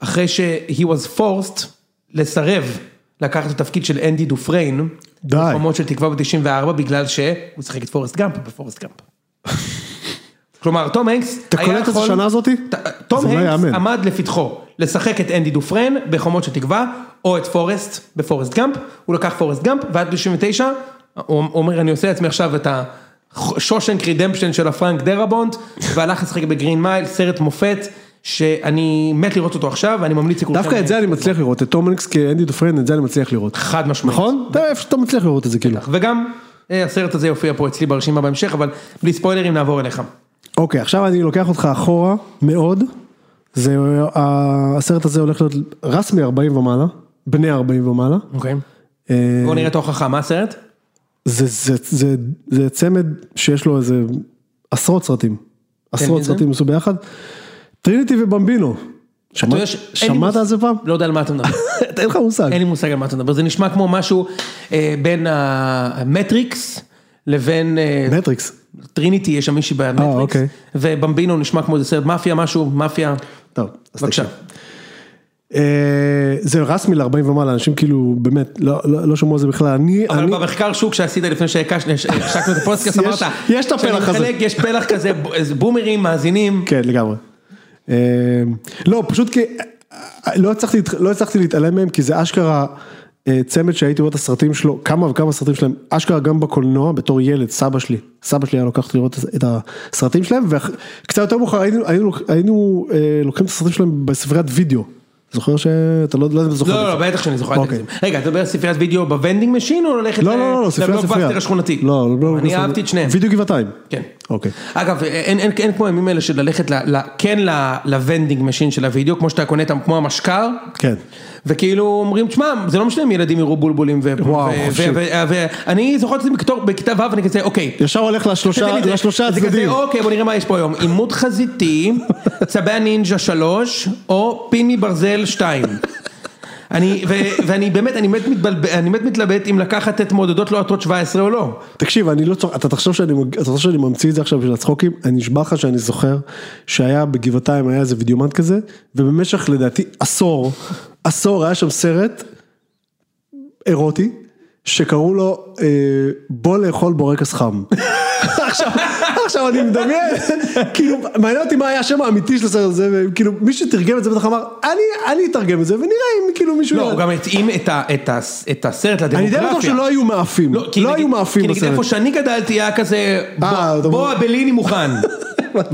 S3: אחרי ש-he was forced לסרב לקחת את התפקיד של אנדי דופריין.
S2: די.
S3: במקומות של תקווה ב-94 בגלל שהוא שיחק את פורסט גאמפ בפורסט גאמפ. כלומר, תום הנקס
S2: אתה קולט את השנה הזאתי?
S3: ת- תום
S2: זה לא
S3: הנקס
S2: יאמן.
S3: עמד לפתחו לשחק את אנדי דופרן בחומות של תקווה, או את פורסט בפורסט גאמפ, הוא לקח פורסט גאמפ, ועד 99, הוא הוא אומר, אני עושה לעצמי עכשיו את השושנק רידמפשן של הפרנק דרבונד, והלך לשחק בגרין מייל, סרט מופת, שאני מת לראות אותו עכשיו, ואני ממליץ לכולכם.
S2: דווקא את זה אני מצליח לראות, את תום הנקס כאנדי דופרן, את זה אני מצליח לראות.
S3: חד משמעית.
S2: נכון? אתה איפה שאתה מצליח לראות את זה כאילו.
S3: וגם אה, הסרט הזה יופיע פה אצלי ברשימה בהמשך, אבל בלי ספוילרים נעבור אליך.
S2: אוקיי, עכשיו אני לוקח אותך אחורה מאוד. זה, ה- הסרט הזה הולך להיות רסמי 40 ומעלה, בני 40 ומעלה.
S3: אוקיי.
S2: אה,
S3: בואו נראה את ההוכחה, מה הסרט?
S2: זה, זה, זה, זה צמד שיש לו איזה עשרות סרטים. עשרות
S3: כן, מי זה?
S2: סרטים עשו ביחד. טריניטי ובמבינו. שמע-
S3: יודע ש- אין לי
S2: שמעת
S3: מושג.
S2: על זה פעם?
S3: לא יודע על מה אתה מדבר.
S2: אין לך מושג.
S3: אין לי מושג על מה אתה מדבר, זה נשמע כמו משהו אה, בין המטריקס לבין אה,
S2: מטריקס.
S3: טריניטי, יש שם מישהי במטריקס,
S2: אוקיי.
S3: ובמבינו נשמע כמו איזה סרט מאפיה משהו, מאפיה,
S2: טוב, אז
S3: בבקשה.
S2: תקשיב. אה, זה רסמי ל-40 ומעלה, אנשים כאילו באמת לא- לא לא שמעו על זה בכלל. אני,
S3: אבל
S2: אני,
S3: במחקר שוק שעשית לפני שהקשנו שהקשקנו את הפודקאסט,
S2: יש-
S3: אמרת,
S2: יש את הפלח
S3: שאני
S2: הזה.
S3: מחלק, יש פלח כזה, ב- איזה בומרים, מאזינים,
S2: כן, לגמרי. אה, לא, פשוט כי אה, לא הצלחתי, להת- לא הצלחתי להתעלם מהם, כי זה אשכרה אה, צמד שהייתי רואה את הסרטים שלו, כמה וכמה סרטים שלהם, אשכרה גם בקולנוע, בתור ילד, סבא שלי, סבא שלי היה לוקח אותי לראות את הסרטים שלהם, וקצת יותר מאוחר היינו, היינו, לוק- היינו אה, לוקחים את הסרטים שלהם בספריית וידאו. זוכר שאתה לא, לא יודע אם אתה זוכר.
S3: לא,
S2: את
S3: לא,
S2: זה.
S3: לא, בטח שאני זוכר את
S2: אוקיי.
S3: זה. רגע, אתה מדבר על ספריית וידאו בוונדינג משין או ללכת
S2: לא, לא, לא, לא, ספרייה, ספרייה.
S3: לבלוקבאסטר השכונתי?
S2: לא, לא, לא,
S3: אני
S2: לא,
S3: אהבתי את שניהם.
S2: וידאו גבעתיים.
S3: כן.
S2: אוקיי.
S3: אגב, אה, אין, אין, אין כמו הימים האלה של ללכת ל, ל, כן ל, לוונדינג משין של הוידאו, כמו שאתה קונה אותם, כמו המשקר,
S2: כן.
S3: וכאילו אומרים, תשמע, זה לא משנה אם ילדים יראו בולבולים, ו-
S2: וואו,
S3: ו-
S2: חופשי.
S3: ו- ו- ואני זוכר את זה בכתור- בכיתה ו', אני כזה, אוקיי.
S2: ישר הולך לשלושה,
S3: תן לי את זה."
S2: לשלושה
S3: זה כזה,
S2: הצדדים.
S3: אוקיי, בוא נראה מה יש פה היום. עימות חזיתי, צבי הנינג'ה 3, או פין מברזל 2. אני, ו, ואני באמת, אני מת, מתבלב, אני מת מתלבט אם לקחת את מודדות לא עטות 17 או לא.
S2: תקשיב, אני לא צוחק, אתה תחשוב שאני, מג- אתה חושב שאני ממציא את זה עכשיו בשביל הצחוקים, אני נשבע לך שאני זוכר שהיה בגבעתיים היה איזה וידאומט כזה, ובמשך לדעתי עשור, עשור היה שם סרט אירוטי, שקראו לו אה, בוא לאכול בורקס חם. עכשיו, עכשיו אני מדמיין, כאילו, מעניין אותי מה היה השם האמיתי של הסרט הזה, וכאילו, מי שתרגם את זה בטח אמר, אני, אני אתרגם את זה, ונראה אם כאילו מישהו...
S3: לא, הוא גם התאים את ה- את ה- את הסרט
S2: אני
S3: לדמוגרפיה.
S2: די בטוח שלא היו מאפים,
S3: לא, כי
S2: לא
S3: נגיד-
S2: היו מאפים
S3: כי נגיד איפה
S2: בסרט.
S3: שאני גדלתי היה כזה,
S2: אה,
S3: בוא-
S2: אתה
S3: בוא
S2: אומר-
S3: הבליני מוכן.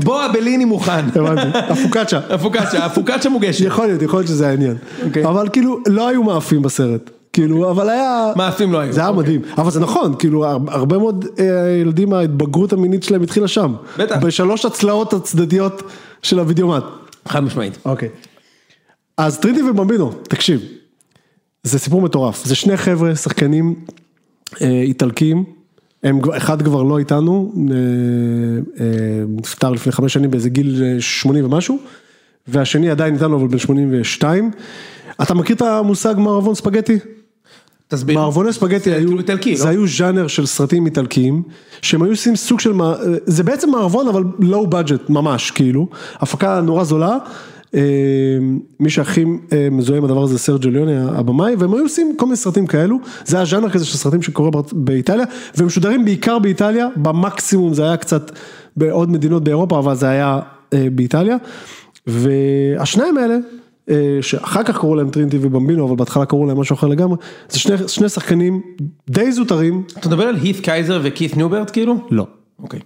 S3: בוא הבליני מוכן.
S2: הבנתי, הפוקאצ'ה.
S3: הפוקציה, הפוקציה מוגשת.
S2: יכול להיות, יכול להיות שזה העניין.
S3: אוקיי.
S2: אבל כאילו, לא היו מאפים בסרט. כאילו, אבל היה...
S3: מאפים לא היו.
S2: זה היה מדהים. אבל זה נכון, כאילו, הר- הרבה מאוד אה, ילדים, ההתבגרות המינית שלהם התחילה שם.
S3: בטח.
S2: בשלוש הצלעות הצדדיות של הווידאומט.
S3: חד משמעית.
S2: אוקיי. אז טרידי ובמבינו, תקשיב. זה סיפור מטורף. זה שני חבר'ה, שחקנים אה, איטלקים. הם, כבר- אחד כבר לא איתנו, אה, אה, נפטר לפני חמש שנים באיזה גיל אה, 80 ומשהו, והשני עדיין איתנו אבל בן 82. אתה מכיר את המושג מערבון ספגטי?
S3: תסביר.
S2: מערבוני ספגטי
S3: זה
S2: היו,
S3: כאילו איטלקי,
S2: זה
S3: לא?
S2: היו ז'אנר של סרטים איטלקיים, שהם היו עושים סוג של, מע- זה בעצם מערבון אבל לואו בדג'ט ממש כאילו, הפקה נורא זולה, אה, מי שהכי אה, מזוהה עם הדבר הזה זה סרג'ו ליוני הבמאי, והם היו עושים כל מיני סרטים כאלו, זה היה ז'אנר כזה של סרטים שקורה בארצ- באיטליה, והם משודרים בעיקר באיטליה, במקסימום זה היה קצת בעוד מדינות באירופה, אבל זה היה אה, באיטליה, והשניים האלה, אה, שאחר כך קראו להם טרינטי ובמבינו, אבל בהתחלה קראו להם משהו אחר לגמרי, זה שני, שני שחקנים די זוטרים,
S3: אתה מדבר על הית קייזר וכית' ניוברט כאילו?
S2: לא.
S3: אוקיי.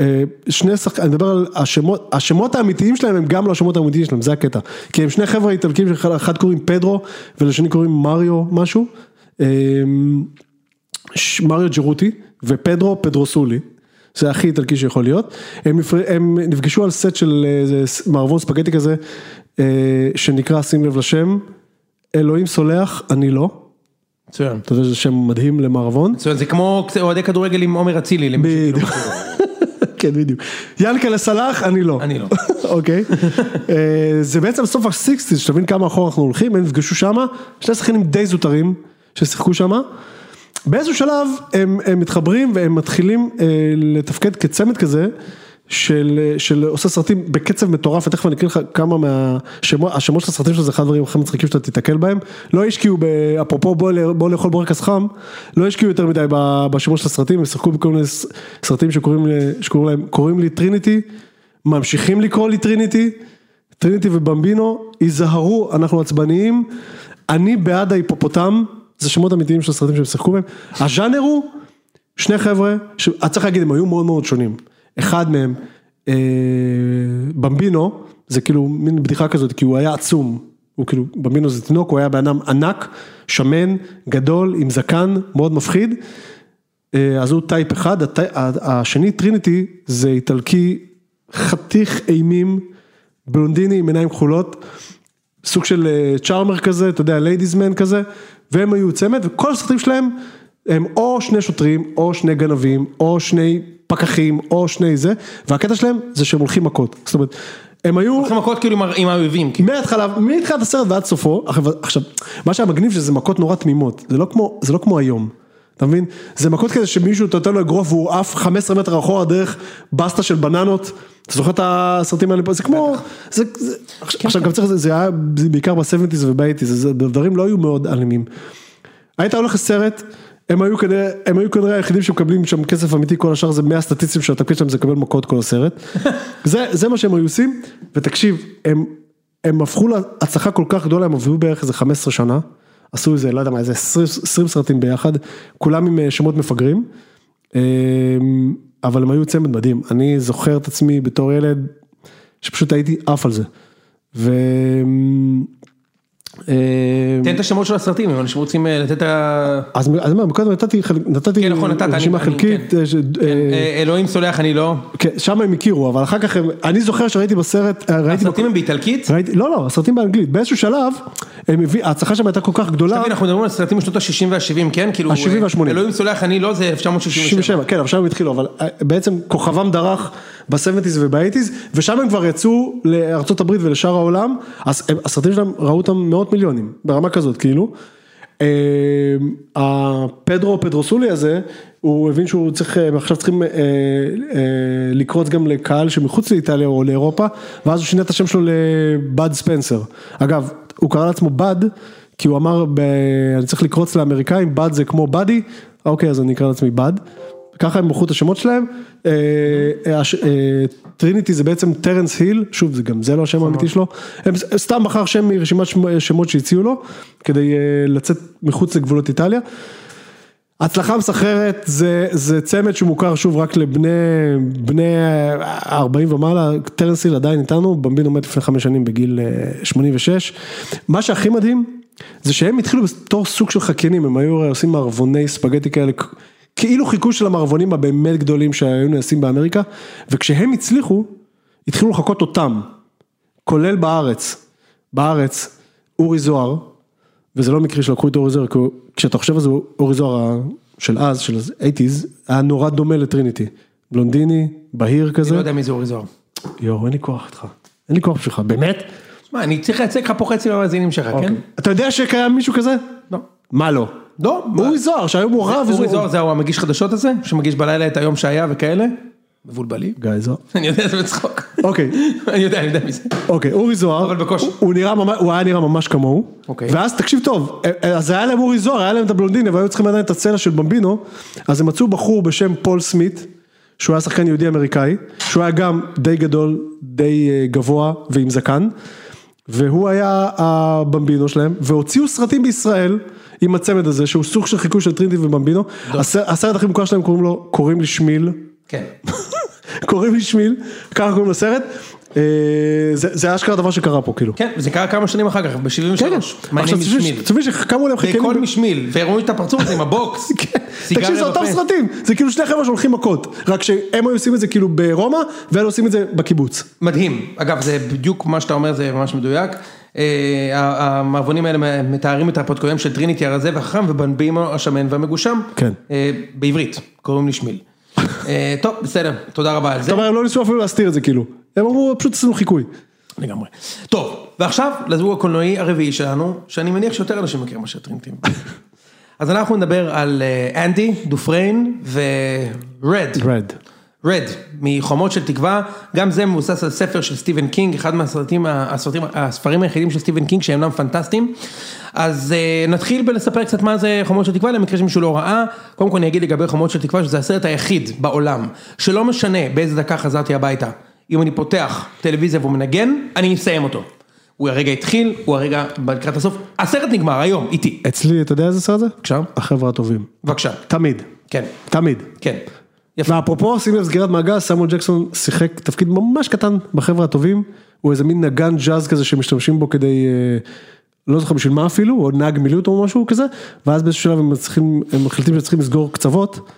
S2: אה, שני שחקנים, אני מדבר על השמות, השמות האמיתיים שלהם הם גם לא השמות האמיתיים שלהם, זה הקטע. כי הם שני חבר'ה איטלקים, שאחד קוראים פדרו ולשני קוראים מריו משהו, אה, ש- מריו ג'רוטי ופדרו פדרוסולי. זה הכי איטלקי שיכול להיות, הם, נפר... הם נפגשו על סט של אה, איזה ס- מערבון ספגטי כזה, אה, שנקרא, שים לב לשם, אלוהים סולח, אני לא,
S3: מצוין.
S2: אתה יודע שזה שם מדהים למערבון.
S3: מצוין, זה כמו קצת אוהדי כדורגל עם עומר אצילי. למי ש-
S2: בדיוק. כן, בדיוק. ינקלה סלאח, אני לא.
S3: אני לא.
S2: אוקיי. אה, זה בעצם סוף ה-60's, שתבין כמה אחורה אנחנו הולכים, הם נפגשו שמה, שני שחקנים די זוטרים ששיחקו שמה. באיזשהו שלב הם, הם מתחברים והם מתחילים אה, לתפקד כצמד כזה. של, של עושה סרטים בקצב מטורף, ותכף אני אקריא לך כמה מהשמות, השמות של הסרטים שלו זה אחד הדברים הכי מצחיקים שאתה תיתקל בהם. לא השקיעו, ב, אפרופו בוא, ל- בוא לאכול בורקס חם, לא השקיעו יותר מדי ב- בשמות של הסרטים, הם שיחקו בכל מיני ס- סרטים שקוראים, ל- שקוראים להם, קוראים לי טריניטי, ממשיכים לקרוא לי טריניטי, טריניטי ובמבינו, היזהרו, אנחנו עצבניים, אני בעד ההיפופוטם, זה שמות אמיתיים של הסרטים שהם שיחקו בהם, הז'אנר הוא שני חבר'ה, ש... אז צריך להגיד, הם היו מאוד מאוד שונים, אחד מהם, אה, במבינו, זה כאילו מין בדיחה כזאת, כי הוא היה עצום, הוא כאילו, במבינו זה תינוק, הוא היה בן אדם ענק, שמן, גדול, עם זקן, מאוד מפחיד, אה, אז הוא טייפ אחד, הטי- ה- השני טריניטי זה איטלקי חתיך אימים, בלונדיני עם עיניים כחולות, סוג של אה, צ'ארמר כזה, אתה יודע, ליידיזמן כזה, והם היו צמד, וכל הסרטים שלהם הם או שני שוטרים, או שני גנבים, או שני פקחים, או שני זה, והקטע שלהם זה שהם הולכים מכות, זאת אומרת, הם היו...
S3: הולכים מכות כאילו עם ה- עם האויבים. כאילו.
S2: מההתחלה, מתחילת הסרט ועד סופו, עכשיו- עכשיו, מה שהיה מגניב שזה מכות נורא תמימות, זה לא כמו, זה לא כמו היום, אתה מבין? זה מכות כזה שמישהו אתה נותן לו אגרוף והוא עף 15 מטר אחורה דרך בסטה של בננות, אתה זוכר את הסרטים האלה פה? זה כמו, זה, זה, עכשיו- עכשיו גם צריך, זה- זה היה זה בעיקר ב-70's וב-80's, זה- זה- הדברים לא היו מאוד אלימים. היית הולך לסרט, הם היו כנראה, הם היו כנראה היחידים שמקבלים שם כסף אמיתי, כל השאר זה 100 סטטיסטים שהתפקיד שלהם זה לקבל מכות כל הסרט. זה, זה מה שהם היו עושים, ותקשיב, הם, הם הפכו להצלחה כל כך גדולה, הם עבדו בערך איזה 15 שנה, עשו איזה, לא יודע מה, איזה 20, 20 סרטים ביחד, כולם עם אה, שמות מפגרים, אה, אבל הם היו צמד מדהים, אני זוכר את עצמי בתור ילד, שפשוט הייתי עף על זה. ו... אה,
S3: תן את השמות של הסרטים, אם אנשים רוצים אה, לתת את ה...
S2: אז אז מה, קודם נתתי, חלק- נתתי
S3: כן, נכון, נתת, אני-
S2: רשימה
S3: אני-
S2: חלקית,
S3: כן.
S2: אה, ש- אה,
S3: אה, אלוהים סולח אני לא.
S2: כן, שם הם הכירו, אבל אחר כך הם, אני זוכר שראיתי בסרט, אה, ראיתי,
S3: הסרטים הם באיטלקית?
S2: ראיתי, לא, לא, הסרטים באנגלית, באיזשהו שלב, הם הביא- ההצלחה שם הייתה כל כך גדולה,
S3: תבין, אנחנו מדברים על סרטים משנות ה-60 וה-70, כן? כאילו...
S2: ה-שבעים
S3: אה,
S2: והשמונים.
S3: אלוהים סולח אני לא זה 1967.
S2: 67, כן, אבל שם הם התחילו, אבל אה, בעצם כוכבם דרך ב-70's וב-80's, ושם הם כבר יצאו לארצות הברית ולשאר העולם, אז הם- הסרטים שלהם ראו אותם מאות מיליונים, ברמה כזאת, כאילו. אה, הפדרו פדרוסולי הזה, הוא הבין שהוא צריך, הם עכשיו צריכים אה, אה, לקרוץ גם לקהל שמחוץ לאיטליה או לאירופה, ואז הוא שינה את השם שלו לבד ספנסר. אגב, הוא קרא לעצמו בד, כי הוא אמר, ב- אני צריך לקרוץ לאמריקאים, בד זה כמו בדי, אוקיי, אז אני אקרא לעצמי בד. ככה הם מכרו את השמות שלהם. אה, הש- אה, טריניטי זה בעצם טרנס היל, שוב, זה גם זה לא השם האמיתי שלו. הם ס- סתם בחר שם מרשימת שמ- שמות שהציעו לו, כדי אה, לצאת מחוץ לגבולות איטליה. הצלחה מסחררת זה, זה צמד שמוכר שוב רק לבני בני 40 ומעלה, טרנס היל עדיין איתנו, במבין עומד לפני חמש שנים בגיל אה, 86. מה שהכי מדהים זה שהם התחילו בתור סוג של חקיינים, הם היו עושים מערבוני ספגטי כאלה, כ- כאילו חיכו של המערבונים הבאמת גדולים שהיו נעשים באמריקה, וכשהם הצליחו, התחילו לחקות אותם, כולל בארץ, בארץ, אורי זוהר, וזה לא מקרי שלקחו את אורי זוהר, כי הוא- כשאתה חושב על זה, אורי זוהר ה- של אז, של ה-80's, היה נורא דומה לטריניטי. בלונדיני, בהיר
S3: אני לא
S2: כזה.
S3: יודע מי זה אורי זוהר.
S2: יואו, אין לי כוח איתך. אין לי כוח בשבילך, באמת? אוקיי.
S3: שמע, אני צריך לייצג לך פה חצי מהמאזינים שלך, כן?
S2: אתה יודע שקיים מישהו כזה?
S3: לא.
S2: מה לא?
S3: לא, מה?
S2: אורי זוהר, שהיום הוא רב.
S3: אורי זוהר זה המגיש חדשות הזה? שמגיש בלילה את היום שהיה וכאלה? מבולבלים.
S2: גיא זוהר.
S3: אני יודע, זה בצחוק.
S2: אוקיי.
S3: אני יודע, אני יודע מי זה.
S2: אוקיי, אורי זוהר,
S3: אבל בקושי.
S2: הוא, הוא, נראה ממש, הוא היה נראה ממש כמוהו,
S3: אוקיי.
S2: ואז תקשיב טוב, אז היה להם אורי זוהר, היה להם את הבלונדיני, והיו צריכים עדיין את הצלע של במבינו, אז הם מצאו בחור בשם פול סמית, שהוא היה שחקן יהודי אמריקאי, שהוא היה גם די גדול, די אה, גבוה ועם זקן, והוא היה הבמבינו שלהם, והוציאו סרטים בישראל עם הצמד הזה, שהוא סוג של חיקוי של טרינדי ובמבינו, הסר- הסרט הכי מוכר שלהם קוראים לו, קוראים לי שמיל,
S3: כן.
S2: קוראים לי שמיל, ככה קוראים לסרט. אה, זה זה אשכרה דבר שקרה פה כאילו.
S3: כן, זה קרה כמה שנים אחר כך,
S2: כן, כן.
S3: ב-73.
S2: עכשיו כן, תשמעי, תשמעי שקמו להם חלקנים.
S3: כל משמיל, והראו את הפרצוף הזה עם הבוקס.
S2: כן.
S3: סיגריה
S2: תקשיב, זה אותם
S3: בפה.
S2: סרטים, זה כאילו שני חבר'ה שהולכים מכות, רק שהם היו עושים את זה כאילו ברומא, ואלה עושים את זה בקיבוץ.
S3: מדהים. אגב, זה בדיוק מה שאתה אומר, זה ממש מדויק. אה, ה- המערבונים האלה מתארים את הפודקויים של טריניטי הרזה והחכם ובנבימו השמן והמגושם.
S2: כן.
S3: אה, בעברית, קוראים לי שמיל. אה, טוב, בסדר, תודה רבה על זה.
S2: אתה אומר, הם לא ניסו אפילו להסתיר את זה כאילו. הם אמרו, פשוט עשינו חיקוי.
S3: לגמרי. טוב, ועכשיו לזוג הקולנועי הרביעי שלנו, שאני מניח שיותר אנשים מכירים מאשר טרינטים. אז אנחנו נדבר על אה, אנדי, דופריין ורד.
S2: רד.
S3: רד, מחומות של תקווה, גם זה מבוסס על ספר של סטיבן קינג, אחד מהסרטים, הסרטים, הספרים היחידים של סטיבן קינג שאינם פנטסטיים. אז אה, נתחיל בלספר קצת מה זה חומות של תקווה, למקרה שמישהו לא ראה. קודם כל אני אגיד לגבי חומות של תקווה, שזה הסרט היחיד בעולם, שלא משנה באיזה דקה חזרתי הביתה, אם אני פותח טלוויזיה והוא מנגן, אני מסיים אותו. הוא הרגע התחיל, הוא הרגע לקראת הסוף, הסרט נגמר היום, איתי.
S2: אצלי, אתה יודע איזה סרט זה?
S3: בבקשה.
S2: החבר'ה הטובים.
S3: בבקשה.
S2: תמיד.
S3: כן,
S2: תמיד.
S3: כן. יפה.
S2: ואפרופו, שים לב סגירת מעגל, סמואל ג'קסון שיחק תפקיד ממש קטן בחבר'ה הטובים, הוא איזה מין נגן ג'אז כזה שמשתמשים בו כדי, אה, לא זוכר בשביל מה אפילו, או נהג מילוט או משהו כזה, ואז באיזשהו שלב הם, מצליחים, הם מחליטים שצריכים לסגור קצוות,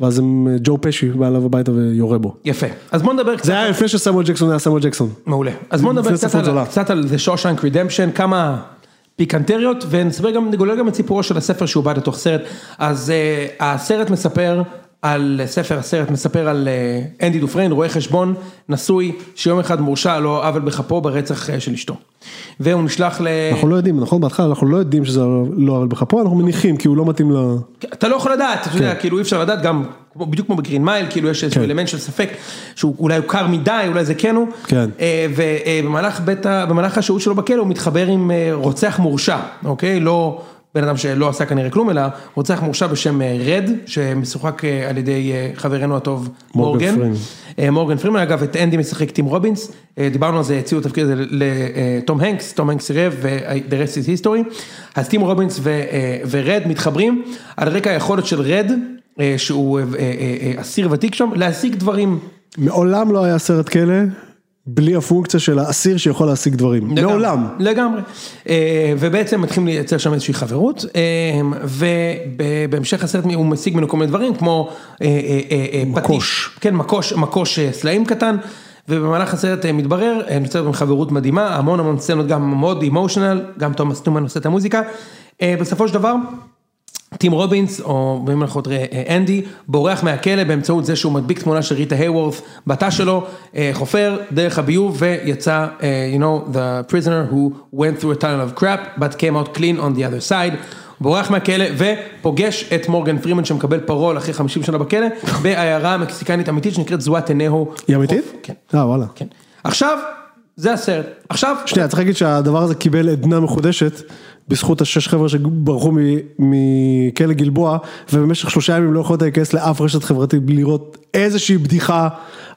S2: ואז הם, אה, ג'ו פשי בא אליו הביתה ויורה בו.
S3: יפה. אז בוא נדבר קצת.
S2: זה היה לפני שסמואל ג'קסון היה סמואל ג'קסון.
S3: מעולה. אז בואו נדבר
S2: לפני
S3: קצת
S2: ספרות
S3: על,
S2: זולה.
S3: קצת על The Shawshank Redemption, כמה פיקנטריות, ונספר גם, נגולל גם את סיפורו של הספר שעובד לתוך סרט. אז uh, הסרט מספר על, ספר הסרט מספר על אה, אנדי דופריין, רואה חשבון, נשוי, שיום אחד מורשע על לא עוול בכפו ברצח אה, של אשתו. והוא נשלח ל...
S2: אנחנו לא יודעים, נכון? בהתחלה אנחנו לא יודעים שזה לא עוול בכפו, אנחנו מניחים, כי הוא לא מתאים ל...
S3: אתה לא יכול לדעת, אתה יודע, כאילו אי אפשר לדעת, גם כמו- בדיוק כמו בגרין מייל, כאילו יש איזשהו
S2: כן.
S3: אלמנט של ספק, שהוא אולי הוא קר מדי, אולי זה כן הוא,
S2: כן.
S3: ובמהלך במהלך השהות שלו בכלא הוא מתחבר עם אה, רוצח מורשע, אוקיי? לא בן אדם שלא עשה כנראה כלום, אלא רוצח מורשע בשם אה, רד, שמשוחק אה, על ידי אה, חברנו הטוב
S2: מורגן
S3: מורגן.
S2: פרימן.
S3: אה, מורגן פרימן, אגב, את אנדי משחק טים רובינס, אה, דיברנו על זה, הציעו את התפקיד הזה לתום הנקס, תום הנקס סירב ו-The rest is history, אז טים רובינס ו- אה, ורד מתחברים על רקע היכולת של רד, אה, שהוא אה, אה, אה, אה, אסיר ותיק שם, להשיג דברים.
S2: מעולם לא היה סרט כלא בלי הפונקציה של האסיר שיכול להשיג דברים.
S3: לגמרי,
S2: מעולם.
S3: לגמרי. אה, ובעצם מתחילים לייצר שם איזושהי חברות, אה, ובהמשך הסרט הוא משיג ממנו כל מיני דברים, כמו אה, אה, אה, אה,
S2: מקוש.
S3: פטיש. כן, מקוש, מקוש אה, סלעים קטן. ובמהלך הסרט אה, מתברר, אה, נוצרת גם חברות מדהימה, המון המון סצנות גם מאוד אימושיונל, גם תומאס נומן עושה את המוזיקה. אה, בסופו של דבר, טים רובינס, או אם אנחנו נראה אה, אנדי, בורח מהכלא באמצעות זה שהוא מדביק תמונה של ריטה היוורת בתא שלו, אה, חופר דרך הביוב ויצא, אה, you know, the prisoner who went through a tunnel of crap, but came out clean on the other side. בורח מהכלא ופוגש את מורגן פרימן שמקבל פרול אחרי 50 שנה בכלא בעיירה מקסיקנית אמיתית שנקראת זואטנהו.
S2: היא אמיתית?
S3: כן.
S2: אה, וואלה.
S3: כן. עכשיו, זה הסרט. עכשיו,
S2: שנייה, צריך להגיד שהדבר הזה קיבל עדנה מחודשת בזכות השש חבר'ה שברחו מ- מכלא גלבוע, ובמשך שלושה ימים לא יכולת להיכנס לאף רשת חברתית בלי לראות איזושהי בדיחה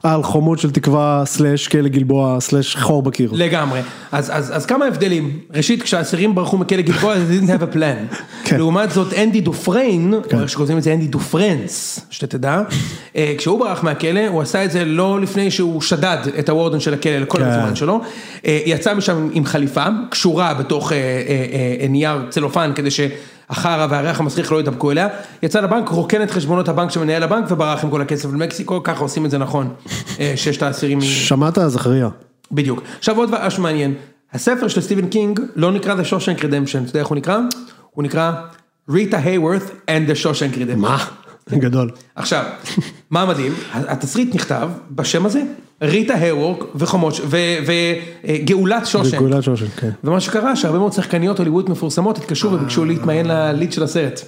S2: על חומות של תקווה, סלאש כלא גלבוע, סלאש חור בקיר.
S3: לגמרי. אז, אז, אז כמה הבדלים? ראשית, כשהאסירים ברחו מכלא גלבוע, they didn't have a plan.
S2: כן.
S3: לעומת זאת, אנדי דופריין, או איך שקוראים לזה, אנדי דופרנס, שתדע, אה, כשהוא ברח מהכלא, הוא עשה את זה לא לפני שהוא שדד את הוורדן של הכלא לכל
S2: כן.
S3: הזמן שלו. אה, יצא משם עם חליפה, קשורה בתוך אה, אה, אה, נייר צלופן, כדי שהחרא והריח המסריח לא ידבקו אליה. יצא לבנק, רוקן את חשבונות הבנק של מנהל הבנק, וברח עם כל הכסף למקסיקו, ככה עושים את זה נכון. אה, ששת האסירים... מ-
S2: שמעת זכריה?
S3: בדיוק. עכשיו עוד משהו מעניין, הספר של סטיבן קינג לא נקרא The Shawshank Redemption, אתה יודע איך הוא נקרא? הוא נקרא ריטה הייוורת and the Shawshank Redemption. מה?
S2: גדול.
S3: עכשיו, מה מדהים, התסריט נכתב בשם הזה, ריטה הייוורת וחומות, וגאולת שושנק.
S2: גאולת שושן, כן.
S3: ומה שקרה שהרבה מאוד שחקניות הוליווד מפורסמות התקשרו וביקשו להתמיין לליד של הסרט.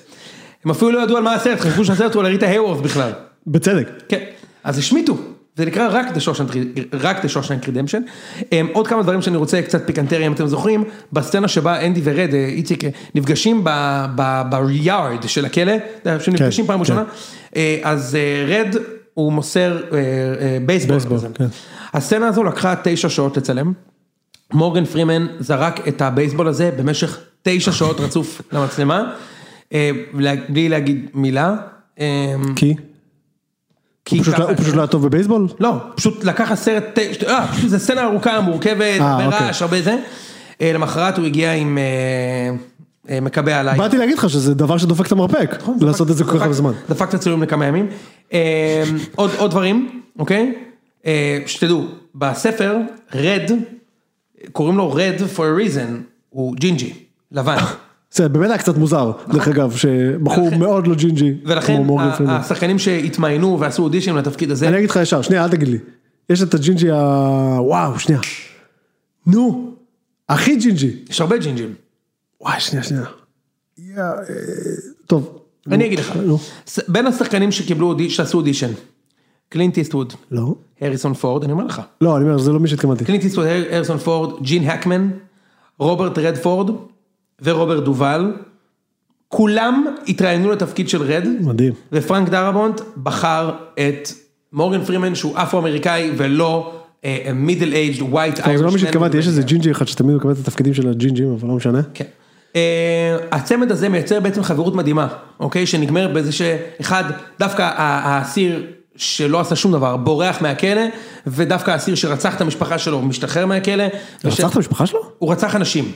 S3: הם אפילו לא ידעו על מה הסרט, חשבו שהסרט הוא על ריטה הייוורת בכלל.
S2: בצדק.
S3: כן, אז השמיטו, זה נקרא רק The Shawshank- רק The Shawshank Redemption. אמ, עוד כמה דברים שאני רוצה, קצת פיקנטריה אם אתם זוכרים, בסצנה שבה אנדי ורד, אה, איציק, אה, נפגשים ב- ב- ביארד של הכלא, אתה יודע, שנפגשים
S2: כן,
S3: פעם
S2: כן.
S3: ראשונה, אה, אז אה, רד הוא מוסר אה, אה, בייסבול.
S2: בייסבול,
S3: כזה.
S2: כן.
S3: הסצנה הזו לקחה תשע שעות לצלם, מורגן פרימן זרק את הבייסבול הזה במשך תשע שעות רצוף למצלמה, אה, בלי להגיד מילה. אמ,
S2: כי?
S3: כי
S2: פשוט לא-
S3: ככה-
S2: הוא פשוט לא היה טוב בבייסבול?
S3: לא, פשוט לקח הסרט, ת- ש- אה, פשוט זו סצנה ארוכה, מורכבת,
S2: אה,
S3: הרבה
S2: אוקיי.
S3: רעש, הרבה זה. אה, למחרת הוא הגיע עם אה, אה, מקבע עליי.
S2: באתי להגיד לך שזה דבר שדופק את המרפק,
S3: נכון,
S2: לעשות את זה כל כך
S3: דפק-
S2: הרבה זמן.
S3: דפק את הצילום לכמה ימים. אה, עוד עוד דברים, אוקיי? אה, שתדעו, בספר, רד, קוראים לו רד for a reason, הוא ג'ינג'י, לבן.
S2: זה באמת היה קצת מוזר, דרך אגב, שבחור
S3: ולכן-
S2: מאוד לא ג'ינג'י,
S3: נכון. ולכן
S2: כמו מורגן
S3: ה-
S2: פרימן.
S3: השחקנים שהתמיינו ועשו אודישן לתפקיד הזה,
S2: אני אגיד לך ישר, שנייה, אל תגיד לי. יש את הג'ינג'י ה... וואו, שנייה. נו, הכי ג'ינג'י.
S3: יש הרבה ג'ינג'ים.
S2: וואי, שנייה, שנייה. יא, אה, טוב.
S3: אני אגיד לך,
S2: נו.
S3: ס- בין השחקנים שקיבלו, אודי- שעשו אודישן, קלינט איסטווד,
S2: לא.
S3: הריסון פורד, אני אומר לך,
S2: לא, אני אומר, זה לא מי שהתכוונתי.
S3: קלינט איסטווד, הר- הריסון פורד, ג'ין הקמן, רוברט רדפורד ורוברט דובל, כולם התראיינו לתפקיד של רד,
S2: מדהים.
S3: ופרנק דרבונט בחר את מורגן פרימן שהוא אפרו-אמריקאי ולא אה, מידל אייג'ד ווייט
S2: טוב, זה לא מי שהתכוונתי, יש איזה ג'ינג'י אחד שתמיד מקבל את התפקידים של הג'ינג'ים, אבל לא משנה.
S3: כן. אה, הצמד הזה מייצר בעצם חברות מדהימה, אוקיי? שנגמרת בזה שאחד, דווקא ה- האסיר שלא עשה שום דבר בורח מהכלא, ודווקא האסיר שרצח את המשפחה שלו משתחרר
S2: לא
S3: מהכלא. וש-
S2: רצח את המשפחה שלו?
S3: הוא רצח אנשים.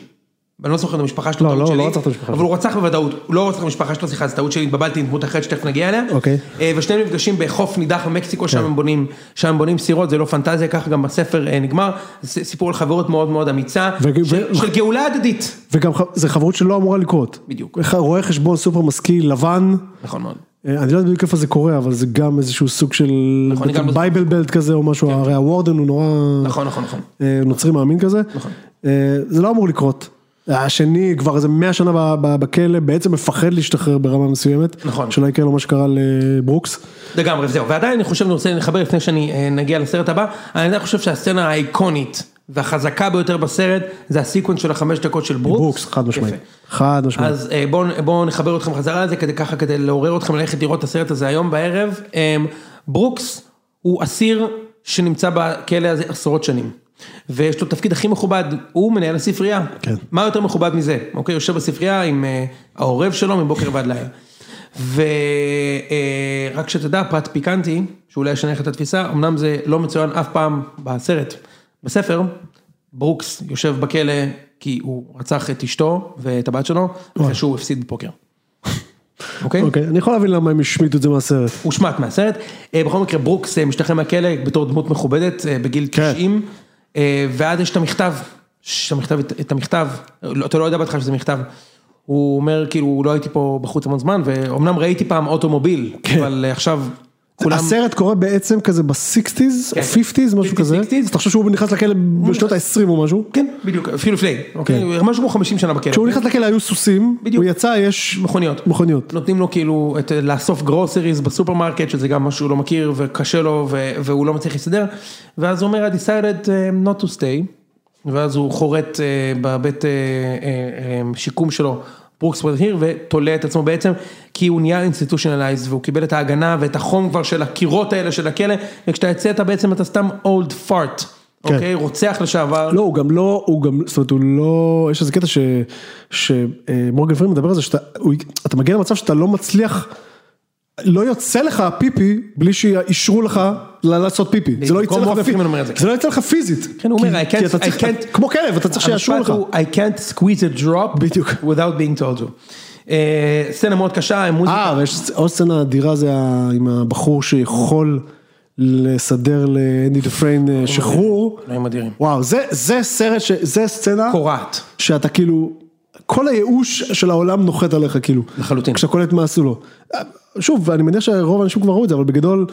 S3: אני לא זוכר את המשפחה שלו,
S2: לא,
S3: טעות
S2: לא,
S3: שלי.
S2: לא רצח את המשפחה
S3: אבל
S2: שלו.
S3: הוא רצח בוודאות, הוא לא רצח את המשפחה שלו, סליחה, זו טעות שלי, התבלבלתי עם דמות אחרת שתכף נגיע אליה.
S2: אוקיי. כן.
S3: אה, ושניהם נפגשים בחוף נידח במקסיקו, שם הם בונים, שם הם בונים סירות, זה לא פנטזיה, ככה גם בספר אה, נגמר. זה סיפור על חברות מאוד מאוד אמיצה,
S2: ו-
S3: של-
S2: ו-
S3: של גאולה הדדית.
S2: וגם ח- זה חברות שלא אמורה לקרות.
S3: בדיוק.
S2: איך רואה חשבון סופר משכיל, לבן,
S3: נכון מאוד.
S2: אה, אני לא יודע בדיוק איפה זה קורה, אבל זה גם איזשהו סוג של
S3: נכון, אני גם לא כן.
S2: בייבל בלט כזה או משהו, הרי הוורדן הוא נורא...
S3: נכון, נכון, נכון.
S2: אה, נוצרי מאמין כזה,
S3: נכון.
S2: אה, זה לא אמור לקרות. השני כבר איזה 100 שנה ב- ב- בכלא, בעצם מפחד להשתחרר ברמה מסוימת.
S3: נכון.
S2: שלא יקרה לו מה שקרה לברוקס.
S3: לגמרי, וזהו. ועדיין אני חושב, אני רוצה לחבר לפני שאני אה, נגיע לסרט הבא, אני עדיין חושב שהסצנה האיקונית והחזקה ביותר בסרט, זה הסיקוונס של החמש דקות של ברוקס.
S2: ברוקס, חד משמעית.
S3: יפה.
S2: חד משמעית.
S3: אז אה, בואו בוא נחבר אתכם חזרה לזה, כדי ככה, כדי לעורר אתכם ללכת לראות את הסרט הזה היום בערב. אה, ברוקס הוא אסיר שנמצא בכלא הזה עשרות שנים. ויש לו תפקיד הכי מכובד, הוא מנהל הספרייה.
S2: כן.
S3: מה יותר מכובד מזה? אוקיי, יושב בספרייה עם אה, העורב שלו מבוקר ועד לילה. ורק שתדע, פרט פיקנטי, שאולי ישנה לך את התפיסה, אמנם זה לא מצוין אף פעם בסרט. בספר, ברוקס יושב בכלא כי הוא רצח את אשתו ואת הבת שלו, אחרי שהוא הפסיד בפוקר. אוקיי?
S2: אוקיי, אני יכול להבין למה הם השמיטו את זה מהסרט.
S3: הושמט מהסרט. אה, בכל מקרה, ברוקס אה, משתחרר מהכלא בתור דמות מכובדת אה, בגיל
S2: כן.
S3: 90, אה, ואז יש את המכתב, ש- המכתב- את המכתב, לא- אתה לא יודע בהתחלה שזה מכתב. הוא אומר, כאילו, לא הייתי פה בחוץ המון זמן, ואומנם ראיתי פעם אוטומוביל, אבל אה, עכשיו כולם...
S2: כן. הסרט קורה בעצם כזה בסיקסטיז,
S3: כן.
S2: או פיפטיז, משהו
S3: 50s,
S2: כזה.
S3: 60s.
S2: אז אתה חושב שהוא נכנס לכלא בשנות ה-20 או משהו?
S3: כן, בדיוק, אפילו לפני, אוקיי? משהו כמו 50 שנה בכלא.
S2: כן. כשהוא נכנס לכלא היו סוסים,
S3: בדיוק.
S2: הוא יצא, יש
S3: מכוניות.
S2: מכוניות.
S3: נותנים לו כאילו את, לאסוף גרוסריז בסופרמרקט, שזה גם משהו שהוא לא מכיר וקשה לו ו, והוא לא מצליח להסתדר, ואז הוא אומר, I decided um, not to stay, ואז הוא חורט אה, בבית אה, אה, אה, שיקום שלו, ברוקספורד היר, ותולה את עצמו בעצם, כי הוא נהיה אינסטיטושנליזד, והוא קיבל את ההגנה ואת החום כבר של הקירות האלה של הכלא, וכשאתה יצאת בעצם אתה סתם אולד פארט,
S2: כן.
S3: אוקיי? רוצח לשעבר.
S2: לא, הוא גם לא, הוא גם, זאת אומרת, הוא לא, יש איזה קטע ש- שמורגן פרימן מדבר על זה, שאתה הוא- אתה מגיע למצב שאתה לא מצליח, לא יוצא לך הפיפי בלי שאישרו לך ל- לעשות פיפי. זה לא יצא
S3: במקום
S2: לך
S3: מורפין
S2: פיפי.
S3: אומר את זה, כן.
S2: זה לא יצא לך פיזית.
S3: כן, הוא אומר,
S2: כי-
S3: I can't-
S2: כי אתה
S3: I
S2: צריך-
S3: can't-
S2: כמו כלב, אתה כן, צריך שיאשרו לך.
S3: המשפט הוא, I can't squeeze a drop,
S2: בדיוק.
S3: without being told you. אה, סצנה מאוד קשה, עם מוזיקה.
S2: אה, ויש עוד סצנה אדירה זה ה- עם הבחור שיכול לסדר לאנדי
S3: לא
S2: דפריין אה, שחרור.
S3: אלוהים אדירים.
S2: וואו, זה, זה סרט, ש... זה סצנה
S3: קורעת.
S2: שאתה כאילו, כל הייאוש של העולם נוחת עליך כאילו.
S3: לחלוטין.
S2: כשאתה קולט מה עשו לו. שוב, אני מניח שרוב האנשים כבר ראו את זה, אבל בגדול,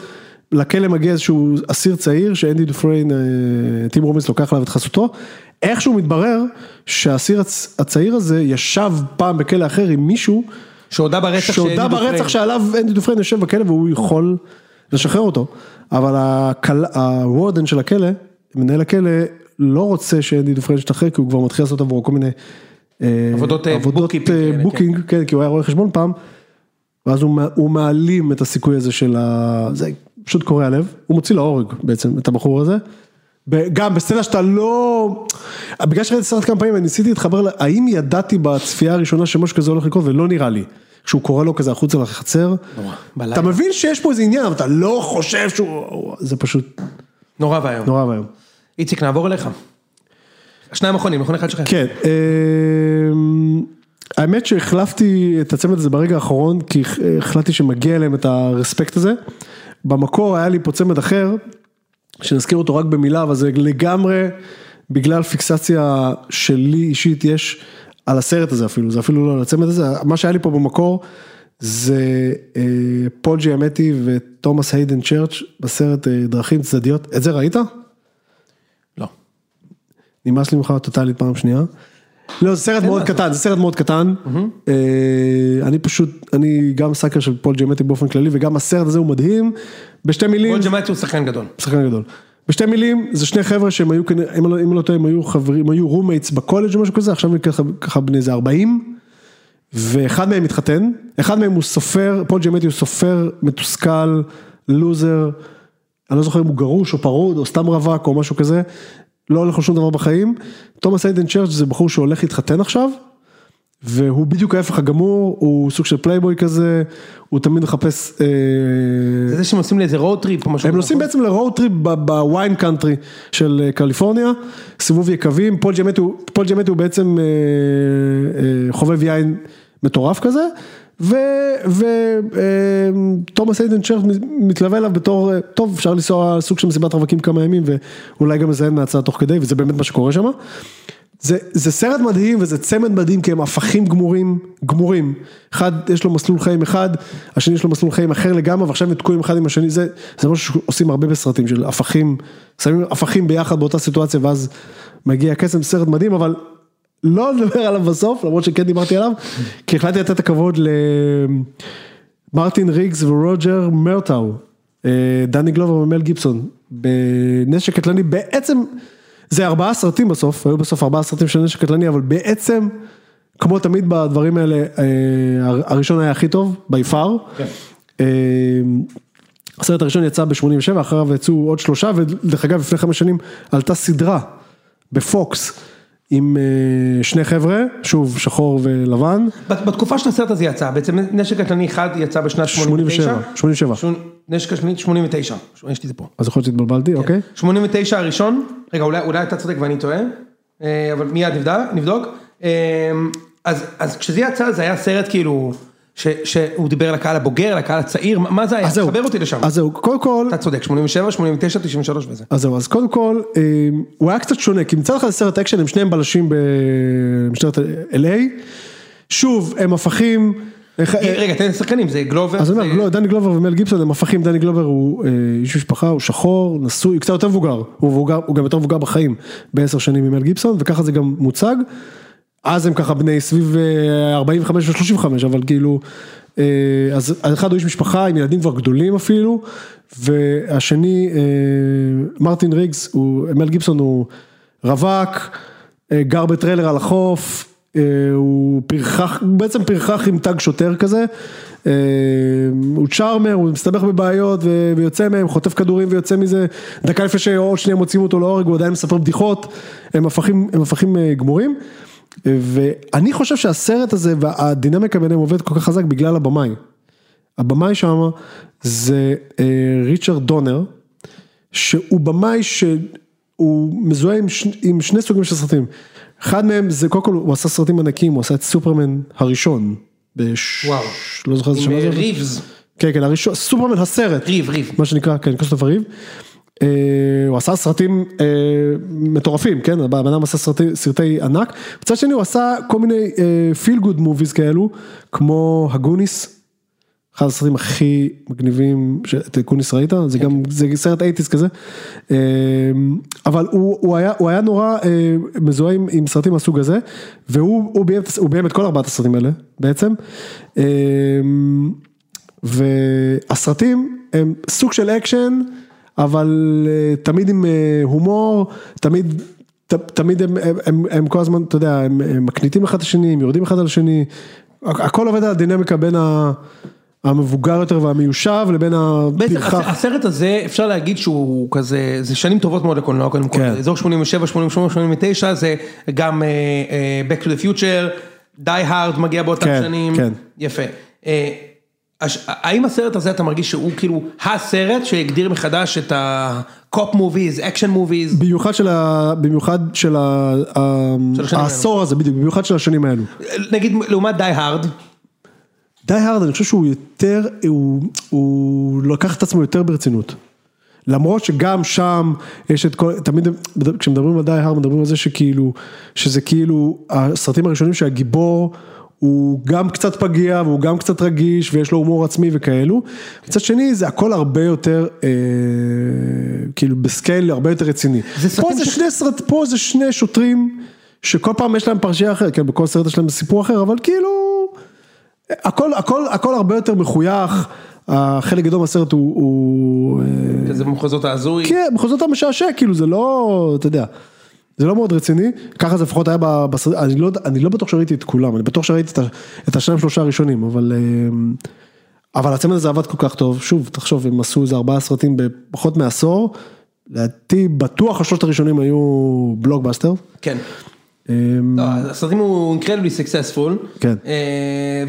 S2: לכלא מגיע איזשהו אסיר צעיר, שאנדי דפריין, אה, טים רובינס לוקח עליו את חסותו. איכשהו מתברר שהאסיר הצ... הצעיר הזה ישב פעם בכלא אחר עם מישהו,
S3: שהודה ברצח
S2: שהודה ברצח שעליו אנדי דופריין יושב בכלא והוא יכול לשחרר אותו. אבל הכל- הוורדן של הכלא, מנהל הכלא, לא רוצה שאנדי דופריין ישתחרר כי הוא כבר מתחיל לעשות עבורו כל מיני אה,
S3: עבודות, אה,
S2: עבודות
S3: bookkeeping כאלה,
S2: אה,
S3: כן.
S2: בוקינג, כן, כי הוא היה רואה חשבון פעם. ואז הוא, מע- הוא מעלים את הסיכוי הזה של ה... זה פשוט קורע לב, הוא מוציא להורג בעצם את הבחור הזה. ב- גם בסצנה שאתה לא... בגלל שראיתי סרט כמה פעמים, אני ניסיתי להתחבר, ל- האם ידעתי בצפייה הראשונה שמשהו כזה הולך לקרות, ולא נראה לי. כשהוא קורא לו כזה החוצה לחצר,
S3: בלילה.
S2: אתה מבין שיש פה איזה עניין, אבל אתה לא חושב שהוא... זה פשוט
S3: נורא ואיום.
S2: נורא ואיום.
S3: איציק, נעבור אליך. שניים אחרונים, נכון אחד שלך.
S2: כן, אמ, האמת שהחלפתי את הצמד הזה ברגע האחרון, כי הח- החלטתי שמגיע להם את הרספקט הזה. במקור היה לי פה צמד אחר, שנזכיר אותו רק במילה, אבל זה לגמרי בגלל פיקסציה שלי אישית יש על הסרט הזה אפילו, זה אפילו לא על הצמד הזה, מה שהיה לי פה במקור זה אה, פול ג'יאמטי ותומאס היידן צ'רץ' בסרט אה, דרכים צדדיות, את זה ראית?
S3: לא.
S2: נמאס לי ממך טוטאלית פעם שנייה. לא, זה סרט מאוד קטן, זה סרט מאוד קטן. אה, אני פשוט, אני גם סאקר של פול ג'מטי באופן כללי, וגם הסרט הזה הוא מדהים. בשתי מילים,
S3: רון ג'מאטי הוא שחקן גדול.
S2: שחקן גדול. בשתי מילים, זה שני חבר'ה שהם היו, כנראה- אם אני לא- אם אני לא טועה, הם היו חברים, היו רומייטס בקולג' או משהו כזה, עכשיו הם ככה- ככה בני איזה 40, ואחד מהם התחתן, אחד מהם הוא סופר, פול ג'מטי הוא סופר מתוסכל, לוזר, אני לא זוכר אם הוא גרוש או פרוד או סתם רווק או משהו כזה, לא הולך לו שום דבר בחיים. תומאס איידן צ'רץ' זה בחור שהולך להתחתן עכשיו, והוא בדיוק ההפך הגמור, הוא סוג של פלייבוי כזה, הוא תמיד מחפש... אה,
S3: זה זה שהם עושים לי איזה road trip או משהו.
S2: הם
S3: כזה,
S2: נוסעים
S3: נכון?
S2: בעצם לרוד טריפ ב- בוויין קאנטרי של אה, קליפורניה, סיבוב יקבים, פול ג'מט הוא, פול ג'מט הוא בעצם אה, אה, חובב יין מטורף כזה, אה, ותומאס איידן צ'רט מתלווה אליו בתור, אה, טוב אפשר לנסוע על סוג של מסיבת רווקים כמה ימים ואולי גם לזיין מהצעה תוך כדי וזה באמת מה שקורה שם. זה, זה סרט מדהים וזה צמד מדהים כי הם הפכים גמורים, גמורים. אחד יש לו מסלול חיים אחד, השני יש לו מסלול חיים אחר לגמרי ועכשיו הם תקועים אחד עם השני, זה, זה משהו שעושים הרבה בסרטים של הפכים, שמים הפכים ביחד באותה סיטואציה ואז מגיע קסם, סרט מדהים אבל לא נדבר עליו בסוף למרות שכן דיברתי עליו, כי החלטתי לתת את הכבוד למרטין ריגס ורוג'ר מרטאו, אה, דני גלובר ומל גיבסון, בנשק קטלני בעצם. זה ארבעה סרטים בסוף, היו בסוף ארבעה סרטים של נשק קטלני, אבל בעצם, כמו תמיד בדברים האלה, אה, הר- הראשון היה הכי טוב, by far. אה, הסרט הראשון יצא ב-87, אחריו יצאו עוד שלושה, ודרך אגב, לפני חמש שנים עלתה סדרה בפוקס עם אה, שני חבר'ה, שוב, שחור ולבן,
S3: בת- בתקופה של הסרט הזה יצא, בעצם נשק קטלני אחד יצא בשנת
S2: 87,
S3: 89.
S2: 87.
S3: שון- נשק קטלני 89. יש לי את זה פה.
S2: אז יכול להיות שהתבלבלתי,
S3: כן.
S2: אוקיי?
S3: אה, 89 הראשון, רגע אולי, אולי אתה צודק ואני טועה, אה, אבל מיד נבדק, נבדוק. אה, אז, אז כשזה יצא זה היה סרט כאילו, ש, שהוא דיבר לקהל הבוגר, לקהל הצעיר, מה- מה זה היה?
S2: אז זהו.
S3: תחבר אותי לשם.
S2: אז זהו, קודם כל,
S3: אתה צודק, 87, 89, 93 וזה.
S2: אז זהו, אז קודם כל, אה, הוא היה קצת שונה, כי מצד אחד זה סרט אקשן, הם שניהם בלשים במשטרת LA, שוב, הם הפכים, איך- אה,
S3: רגע, תן לי שחקנים, זה גלובר.
S2: אז אני
S3: זה-
S2: אומר, לא, דני גלובר ומל גיבסון הם הפכים, דני גלובר הוא אה, איש משפחה, הוא שחור, נשוי, הוא קצת יותר מבוגר, הוא, מבוגר, הוא גם יותר מבוגר בחיים בעשר שנים ממל גיבסון, וככה זה גם מוצג. אז הם ככה בני סביב אה, 45 ו-35, אבל כאילו, אה, אז האחד הוא איש משפחה עם ילדים כבר גדולים אפילו, והשני, אה, מרטין ריגס, הוא, מל גיבסון הוא רווק, אה, גר בטריילר על החוף, אה, הוא פרחח, הוא בעצם פרחח עם תג שוטר כזה, אה, הוא צ'ארמר, הוא מסתבך בבעיות ו- ויוצא מהם, חוטף כדורים ויוצא מזה, דקה לפני שעוד שנייה מוציאים אותו להורג, הוא עדיין מספר בדיחות, הם הפכים, הם הפכים אה, גמורים. אה, ואני חושב שהסרט הזה והדינמיקה ביניהם עובד כל כך חזק בגלל הבמאי. הבמאי שם זה אה, ריצ'רד דונר, שהוא במאי שהוא מזוהה עם, ש... עם שני סוגים של סרטים. אחד מהם זה קודם כל הוא עשה סרטים ענקים, הוא עשה את סופרמן הראשון. בש...
S3: וואו.
S2: לא זוכר איזה
S3: עם
S2: שנה זה.
S3: אה, ריבס,
S2: כן, כן, הראשון, סופרמן הסרט.
S3: ריב, ריב.
S2: מה שנקרא, כן, כריסטופר ריב. אה, הוא עשה סרטים אה, מטורפים, כן, הבן אדם עשה סרטי, סרטי ענק. מצד שני הוא עשה כל מיני אה, פיל גוד מוביז כאלו, כמו הגוניס, אחד הסרטים הכי מגניבים שאת הגוניס ראית, זה גם, זה סרט 80's כזה. אה, אבל הוא, הוא, היה, הוא היה נורא אה, מזוהה עם, עם סרטים מהסוג הזה, והוא הוא ביים, הוא ביים את כל ארבעת הסרטים האלה בעצם. אה, והסרטים הם סוג של אקשן, אבל אה, תמיד עם אה, הומור, תמיד, ת, תמיד הם, הם, הם, הם כל הזמן, אתה יודע, הם, הם מקניטים אחד את השני, הם יורדים אחד על השני, הכ- הכל עובד על הדינמיקה בין ה, המבוגר יותר והמיושב לבין
S3: בעצם הס-
S2: הפרחח.
S3: הסרט הזה אפשר להגיד שהוא כזה, זה שנים טובות מאוד לקולנוע קודם כל,
S2: כן.
S3: אזור 87, 88, 89 זה גם אה, אה, Back to the Future, Die Hard מגיע באותם
S2: כן,
S3: שנים,
S2: כן.
S3: יפה. אה, הש- האם הסרט הזה אתה מרגיש שהוא כאילו הסרט שהגדיר מחדש את ה-cop movies, action movies,
S2: במיוחד של, ה, במיוחד של, ה, ה,
S3: של השנים
S2: העשור הזה, בדיוק, במיוחד של השנים האלו.
S3: נגיד לעומת Die Hard,
S2: די הרד, אני חושב שהוא יותר, הוא, הוא לקח את עצמו יותר ברצינות. למרות שגם שם יש את כל, תמיד, הם- כשמדברים על די הרד, מדברים על זה שכאילו, שזה כאילו הסרטים הראשונים שהגיבור הוא גם קצת פגיע והוא גם קצת רגיש ויש לו הומור עצמי וכאלו. מצד שני זה הכל הרבה יותר, אה, כאילו בסקייל הרבה יותר רציני.
S3: זה
S2: פה
S3: סרטים
S2: זה
S3: ש-
S2: שני סרט, פה זה שני שוטרים שכל פעם יש להם פרשייה אחרת, כן, בכל סרט יש להם סיפור אחר, אבל כאילו... הכל, הכל, הכל הרבה יותר מחוייך, אה, חלק גדול מהסרט הוא, הוא אה,
S3: כזה במחוזות ההזוי,
S2: כן, בכל זאת אתה משעשע, כאילו זה לא, אתה יודע, זה לא מאוד רציני, ככה זה לפחות היה ב- בסרט, אני לא, יודע- אני לא בטוח שראיתי את כולם, אני בטוח שראיתי את, ה- את השניים שלושה הראשונים, אבל, אה, אבל הצמד הזה עבד כל כך טוב, שוב, תחשוב, הם עשו איזה ארבעה סרטים בפחות מעשור, לדעתי בטוח השלושת הראשונים היו בלוקבאסטר.
S3: כן.
S2: אה,
S3: לא, הסרטים הוא אינקרדיבלי סקסספול.
S2: כן.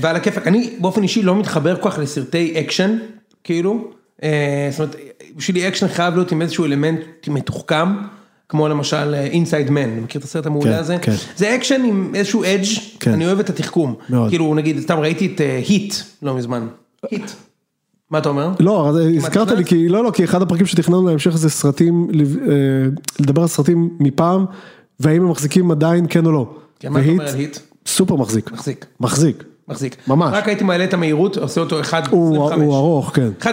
S3: ועל הכיפאק, אני באופן אישי לא מתחבר כל כך לסרטי אקשן, כאילו. אה, זאת אומרת, בשבילי אקשן חייב להיות עם איזשהו אלמנט מתוחכם, כמו למשל אה, אינסייד מן, אני מכיר את הסרט המעולה
S2: כן,
S3: הזה?
S2: כן.
S3: זה אקשן עם איזשהו אדג',
S2: כן.
S3: אני אוהב את התחכום.
S2: מאוד.
S3: כאילו, נגיד, סתם ראיתי את היט לא מזמן. היט. מה אתה אומר?
S2: לא, אז הזכרת לי,
S3: נכנס?
S2: כי לא, לא, כי אחד הפרקים שתכננו להמשך זה סרטים, לב- אה, לדבר על סרטים מפעם, והאם הם מחזיקים עדיין כן או לא.
S3: כן, מה אתה אומר
S2: והיט,
S3: על היט?
S2: סופר מחזיק.
S3: מחזיק.
S2: מחזיק.
S3: מחזיק.
S2: ממש.
S3: רק הייתי מעלה את המהירות, עושה אותו 1.25.
S2: הוא הוא ארוך, כן.
S3: 1.25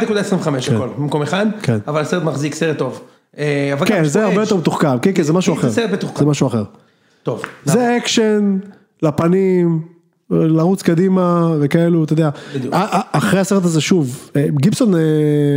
S3: הכל, במקום אחד,
S2: כן.
S3: אבל הסרט מחזיק, סרט טוב. אה, אבל
S2: כן,
S3: גם
S2: זה
S3: יש פה
S2: הרבה
S3: אש.
S2: יותר מתוחכם, כן, כן, זה משהו
S3: זה
S2: אחר.
S3: סרט מתוחכם.
S2: זה משהו אחר.
S3: טוב. למה?
S2: זה אקשן, לפנים, לרוץ קדימה וכאלו, אתה יודע.
S3: בדיוק.
S2: א- א- אחרי הסרט הזה שוב, אה, גיבסון אה,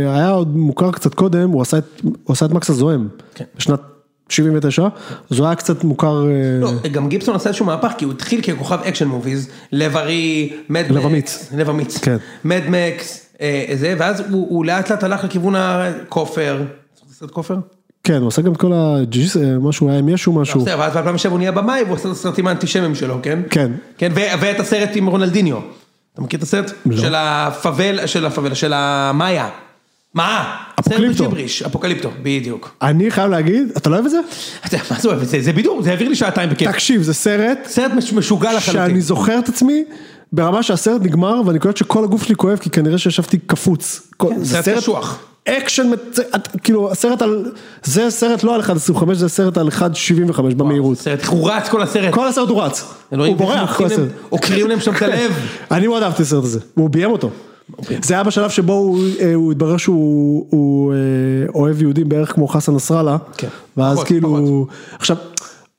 S2: היה עוד מוכר קצת קודם, הוא עשה את- הוא עשה את מקס הזוהם.
S3: כן.
S2: בשנת 79, אז הוא היה קצת מוכר. אה,
S3: לא, גם גיבסון עשה איזשהו מהפך, כי הוא התחיל ככוכב אקשן מוביז, לב ארי, מדמקס,
S2: לב אמיץ.
S3: לב אמיץ,
S2: כן.
S3: מדמקס, אה, זה, ואז הוא הוא לאט לאט הלך לכיוון הכופר, זה סרט כופר?
S2: כן, הוא עשה גם את כל הג'יס, אה, משהו, היה עם ישו משהו.
S3: לא, בסדר, ואז ב-2007 הוא נהיה במאי והוא עושה את הסרטים האנטישמיים שלו, כן?
S2: כן.
S3: כן, ו- ואת הסרט עם רונלדיניו. אתה מכיר את הסרט?
S2: לא.
S3: של הפאבל, של הפאבל, של המאיה. מה? סרט
S2: אפוקליפטו.
S3: בג'יבריש, אפוקליפטו, בדיוק.
S2: אני חייב להגיד, אתה לא אוהב את זה?
S3: אתה יודע, מה זה אוהב את זה? זה בידור, זה העביר לי שעתיים בכיף.
S2: תקשיב, זה סרט
S3: סרט מש- משוגע לחלוטין.
S2: שאני זוכר את עצמי ברמה שהסרט נגמר ואני קולט שכל הגוף שלי כואב כי כנראה שישבתי קפוץ. כל-
S3: כן,
S2: זה
S3: סרט
S2: סרט
S3: קשוח.
S2: אקשן, מצ- את- כאילו הסרט על, זה סרט לא על 1.25 זה סרט על 1.75 במהירות.
S3: סרט, הוא רץ כל הסרט.
S2: כל הסרט הוא רץ,
S3: אלוהים,
S2: הוא בורח כל
S3: עוקרים להם-
S2: הסרט.
S3: עוקרים להם שם את הלב.
S2: אני מאוד אהבתי את הסרט הזה, הוא ביים אותו. זה היה בשלב שבו הוא, אה, הוא התברר שהוא הוא, אה, אוהב יהודים בערך כמו חסן נסראללה,
S3: כן.
S2: ואז
S3: פחות,
S2: כאילו, עכשיו,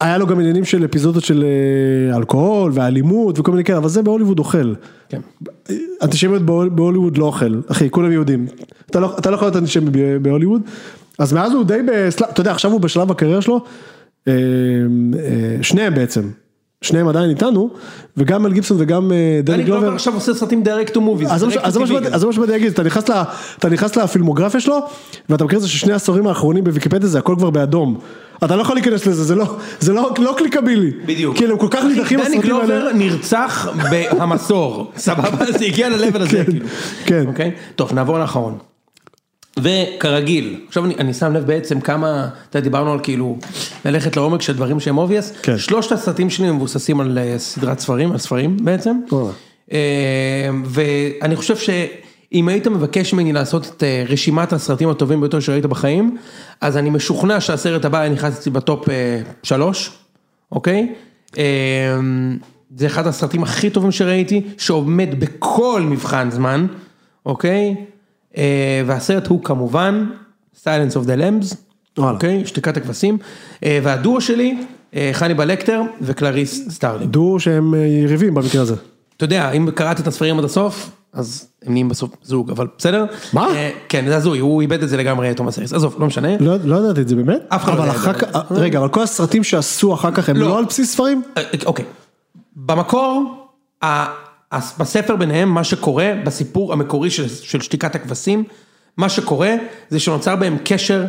S2: היה לו גם עניינים של אפיזודות של אה, אלכוהול ואלימות וכל מיני כאלה, אבל זה בהוליווד אוכל.
S3: כן.
S2: אנטישמיות בהול- בהוליווד לא אוכל, אחי, כולם יהודים. אתה לא, אתה לא יכול להיות אנטישמי ב- בהוליווד. אז מאז הוא די, בסל... אתה יודע, עכשיו הוא בשלב הקריירה שלו, אה, אה, אה, שניהם בעצם, שניהם עדיין איתנו, וגם מל גיבסון וגם אה, דני
S3: דני גלובר
S2: גלובר.
S3: עכשיו עושה סרטים direct to movies.
S2: אז זה מה ש-
S3: direct to
S2: אז זה מה
S3: TV
S2: שבאתי-
S3: גם.
S2: אז זה מה שבאתי להגיד, אתה נכנס ל- אתה נכנס לפילמוגרפיה שלו, ואתה מכיר את זה ששני העשורים האחרונים בוויקיפדיה זה הכל כבר באדום. אתה לא יכול להיכנס לזה, זה לא, זה לא, לא קליקבילי.
S3: בדיוק.
S2: כאילו, הם כל כך נידחים
S3: דני
S2: הסרטים האלה.
S3: גלובר נרצח בהמסור, סבבה? זה הגיע ל-level הזה,
S2: כן,
S3: כאילו.
S2: כן.
S3: אוקיי? טוב, נעבור לאחרון. וכרגיל, עכשיו אני, אני שם לב בעצם כמה, אתה יודע, דיברנו על כאילו ללכת לעומק של דברים שהם obvious,
S2: כן.
S3: שלושת הסרטים שלי מבוססים על אה, סדרת ספרים, על ספרים בעצם,
S2: וואלה.
S3: אה, ואני חושב שאם היית מבקש ממני לעשות את אה, רשימת הסרטים הטובים ביותר שראית בחיים, אז אני משוכנע שהסרט הבא היה נכנס אצלי בטופ אה, שלוש, אוקיי? אה, זה אחד הסרטים הכי טובים שראיתי, שעומד בכל מבחן זמן, אוקיי? אה, והסרט הוא כמובן Silence of the Lambs,
S2: וואלה.
S3: אוקיי? שתיקת הכבשים, אה, והדואו שלי, אה, חניבה לקטר וקלריס סטארלינג.
S2: דו שהם אה, יריבים במקרה הזה.
S3: אתה יודע, אם קראת את הספרים עד הסוף, אז הם נהיים בסוף זוג, אבל בסדר?
S2: מה?
S3: אה, כן, זה הזוי, הוא איבד את זה לגמרי, תומאס האריס, עזוב, לא משנה.
S2: לא, לא ידעתי את זה באמת.
S3: אף אחד לא
S2: אבל
S3: יודע את
S2: אחר
S3: זה.
S2: כך, רגע, אבל כל הסרטים שעשו אחר כך הם
S3: לא.
S2: לא על בסיס ספרים?
S3: אה, אוקיי. במקור, ה- הס- בספר ביניהם, מה שקורה, בסיפור המקורי של, של שתיקת הכבשים, מה שקורה זה שנוצר בהם קשר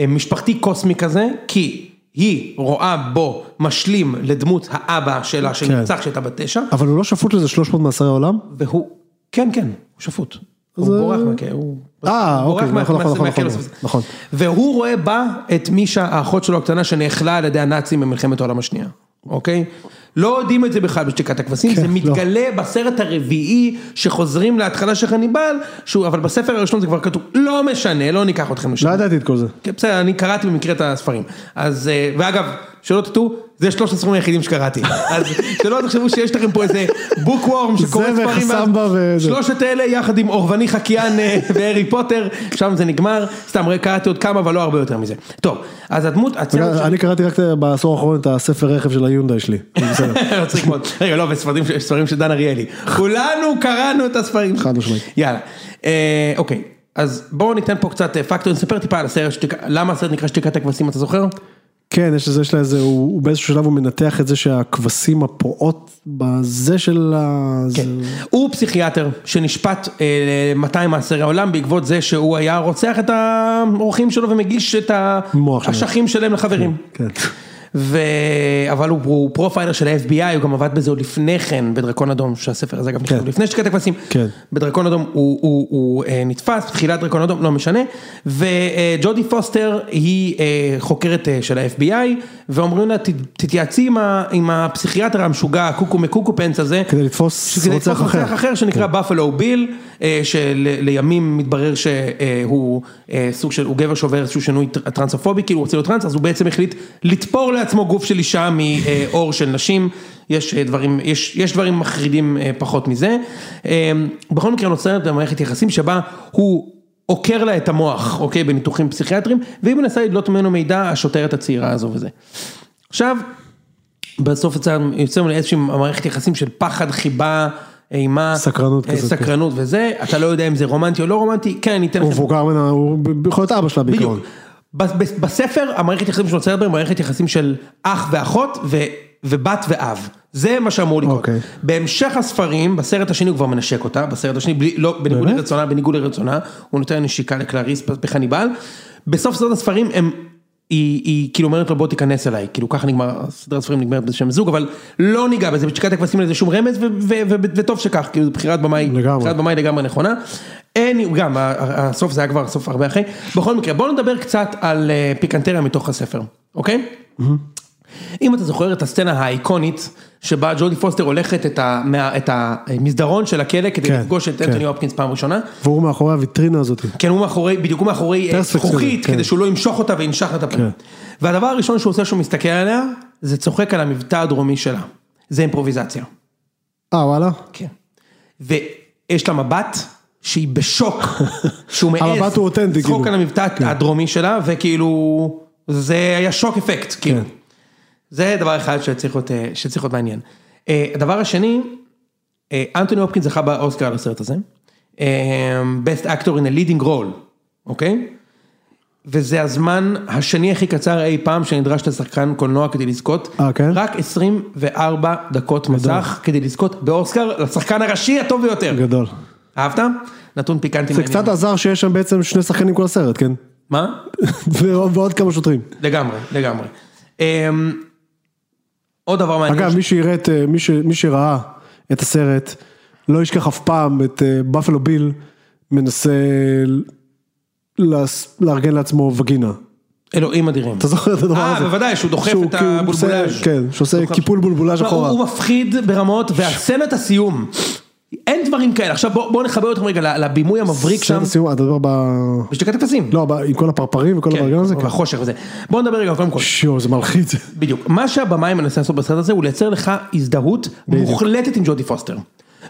S3: אה, משפחתי קוסמי כזה, כי היא רואה בו משלים לדמות האבא שלה שנרצח כשהייתה בת תשע,
S2: אבל הוא לא שפוט לזה 300 מאסרי עולם?
S3: והוא, כן, כן, הוא שפוט. הוא
S2: זה-
S3: בורח מהכלא, הוא...
S2: אה,
S3: הוא בורח
S2: אוקיי, נכון,
S3: מה-
S2: נכון, נכון,
S3: מהכלא
S2: נכון,
S3: הסופי.
S2: נכון.
S3: והוא רואה בה את מישה, האחות שלו הקטנה, שנאכלה על ידי הנאצים במלחמת העולם השנייה, אוקיי? לא יודעים את זה בכלל בשתיקת הכבשים,
S2: כן,
S3: זה
S2: לא.
S3: מתגלה בסרט הרביעי שחוזרים להתחלה של חניבל, שהוא, אבל בספר הראשון זה כבר כתוב, לא משנה, לא ניקח אתכם לשם.
S2: לא ידעתי את כל זה.
S3: כן, בסדר, אני קראתי במקרה את הספרים. אז, אה, ואגב, שלא תטעו, זה שלושת הספרים היחידים שקראתי. אז שלא תחשבו שיש לכם פה איזה בוק וורם שקורא
S2: זה
S3: ספרים. ואז-
S2: וחסמבה וזה.
S3: שלושת אלה יחד עם אורבני חקיין אה, והארי פוטר, שם זה נגמר. סתם, רק קראתי עוד כמה, אבל לא הרבה יותר מזה. טוב, אז הדמות, הצוות
S2: אני קראתי רק אה, בעשור האחרון את הספר רכב של היונדאי שלי. בסדר.
S3: לא צריך מאוד. רגע, לא, וספרים ש- ספרים של דן אריאלי. כולנו קראנו את הספרים.
S2: חד משמעית.
S3: יאללה. אה, אוקיי, אז בואו ניתן פה קצת אה, פקטורים. ספר טיפה על הסרט, שתיק- למה הסרט נקרא שתיקת הכבשים, אתה זוכר?
S2: כן, יש לזה, יש לה איזה, הוא הוא באיזשהו שלב הוא מנתח את זה שהכבשים הפורעות בזה של ה...
S3: כן. הוא פסיכיאטר שנשפט אה, ל-200 מאסרי עולם בעקבות זה שהוא היה רוצח את האורחים שלו ומגיש את
S2: מוח שלהם.
S3: האשכים שלהם לחברים.
S2: כן.
S3: ו... אבל הוא, הוא פרופיילר של ה-FBI, הוא גם עבד בזה עוד לפני כן בדרקון אדום, שהספר הזה אגב נכתב
S2: כן.
S3: לפני שקט הכבשים.
S2: כן.
S3: בדרקון אדום הוא, הוא, הוא, אה, נתפס, תחילת דרקון אדום, לא משנה. וג'ודי פוסטר היא אה, חוקרת אה, של ה-FBI, ואומרים לה, "ת- תתייעצי עם, ה, עם הפסיכיאטר המשוגע, הקוקו מקוקו פנס הזה.
S2: כדי לתפוס
S3: כדי לתפוס
S2: רוצח
S3: רוצח
S2: אחר. כן.
S3: אחר שנקרא בפלו ביל, אה, שלימים מתברר שהוא אה, סוג של, הוא גבר שעובר איזשהו שינוי טר- טרנסופובי, כאילו הוא רוצה להיות טרנס, אז הוא בעצם החליט לתפור לעצמו גוף של אישה מעור של נשים, יש אה, דברים, יש, יש דברים מחרידים אה, פחות מזה. אה, בכל מקרה נוצרת מערכת יחסים שבה הוא... עוקר לה את המוח, אוקיי, בניתוחים פסיכיאטריים, והיא מנסה לדלות ממנו מידע, השוטרת הצעירה הזו וזה. עכשיו, בסוף יצא- יוצא מלא איזושהי מערכת יחסים של פחד, חיבה, אימה.
S2: סקרנות
S3: אה,
S2: כזאת, כן.
S3: סקרנות וזה, אתה לא יודע אם זה רומנטי או לא רומנטי, כן, אני אתן
S2: הוא
S3: לכם.
S2: מבוגר ממנה, הוא ב- יכול להיות אבא שלה בעיקרון.
S3: בדיוק. בס- בס- בספר, המערכת יחסים שנוצרת בהם, מערכת יחסים של אח ואחות ו- ובת ואב. זה מה שאמור לקרות.
S2: אוקיי.
S3: בהמשך הספרים, בסרט השני הוא כבר מנשק אותה, בסרט השני, בלי, לא, בניגוד
S2: באמת?
S3: לרצונה, בניגוד לרצונה, הוא נותן נשיקה לקלריס בחניבל. בסוף סרט הספרים הם... היא, היא כאילו אומרת לו בוא תיכנס אליי, כאילו ככה נגמר, סדרת הספרים נגמרת בשם זוג, אבל לא ניגע בזה, בשתיקת הכבשים אין לזה שום רמז, ו- ו- ו- ו- וטוב שכך, כאילו זו בחירת במאי,
S2: לגמרי.
S3: בחירת במאי לגמרי נכונה. אין, גם, ה- ה- הסוף זה היה כבר סוף הרבה אחרי. בכל מקרה, בואו נדבר קצת על אה, פיקנטריה מתוך הספר, אוקיי?
S2: Mm-hmm.
S3: אם אתה זוכר את הסצנה האיקונית, שבה ג'ודי פוסטר הולכת את, ה, מה, את המסדרון של הכלא כדי
S2: כן,
S3: לפגוש את
S2: כן.
S3: אנטוני הופקינס פעם ראשונה,
S2: והוא מאחורי הוויטרינה הזאת.
S3: כן, הוא מאחורי, בדיוק הוא מאחורי אה,
S2: פרספקס
S3: זכוכית,
S2: כזה, כן.
S3: כדי שהוא לא ימשוך אותה וינשך לה את הפנים.
S2: כן.
S3: והדבר הראשון שהוא עושה שהוא מסתכל עליה, זה צוחק על המבטא הדרומי שלה. זה אימפרוביזציה.
S2: אה וואלה?
S3: כן. ויש לה מבט שהיא בשוק, שהוא מעז.
S2: המבט הוא אותנטי,
S3: צחוק
S2: כאילו.
S3: על המבטא הדרומי שלה, וכאילו, זה היה שוק אפקט, כאילו.
S2: כן.
S3: זה דבר אחד שצריך להיות, אה, שצריך להיות מעניין. אה, הדבר השני, אה, אנטוני הופקינס זכה באוסקר על הסרט הזה. אה, Best Actor in a Leading Role, אוקיי? וזה הזמן השני הכי קצר אי פעם שנדרש לשחקן קולנוע כדי לזכות.
S2: אה, כן?
S3: רק 24 דקות מסך כדי לזכות באוסקר לשחקן הראשי הטוב ביותר.
S2: גדול.
S3: אהבת? נתון פיקנטי.
S2: זה
S3: מעניין.
S2: קצת עזר שיש שם בעצם שני שחקנים כל הסרט, כן?
S3: מה?
S2: ו- ועוד כמה שוטרים.
S3: לגמרי, לגמרי. אמ, עוד דבר מעניין.
S2: אגב, מי שיראה את, אה, מי ש- מי שראה את הסרט, לא ישכח אף פעם את אה, בפלו ביל מנסה ל- לס- לארגן לעצמו וגינה.
S3: אלוהים אדירים.
S2: אתה זוכר את הדבר
S3: אה,
S2: הזה?
S3: בוודאי, שהוא דוחף
S2: שהוא
S3: את
S2: כאילו עושה-
S3: הבולבולאז'.
S2: כן, שעושה
S3: דוחף.
S2: קיפול בולבולאז'
S3: תשמע, הוא-
S2: אחורה.
S3: הוא מפחיד ברמות, והסצנת הסיום, אין דברים כאלה. עכשיו בוא בוא נחבר אותם רגע ל- לבימוי המבריק שם,
S2: סרט הסיום, אתה מדבר ב...
S3: בשתיקת אפסים.
S2: לא, ב- עם כל הפרפרים וכל
S3: כן,
S2: הברגן הזה? כן.
S3: החושך וזה. בוא נדבר רגע קודם כל.
S2: שיו, זה מלחיץ.
S3: בדיוק. מה שהבמאי מנסה לעשות בסרט הזה הוא לייצר לך הזדהות מוחלטת עם ג'ודי פוסטר.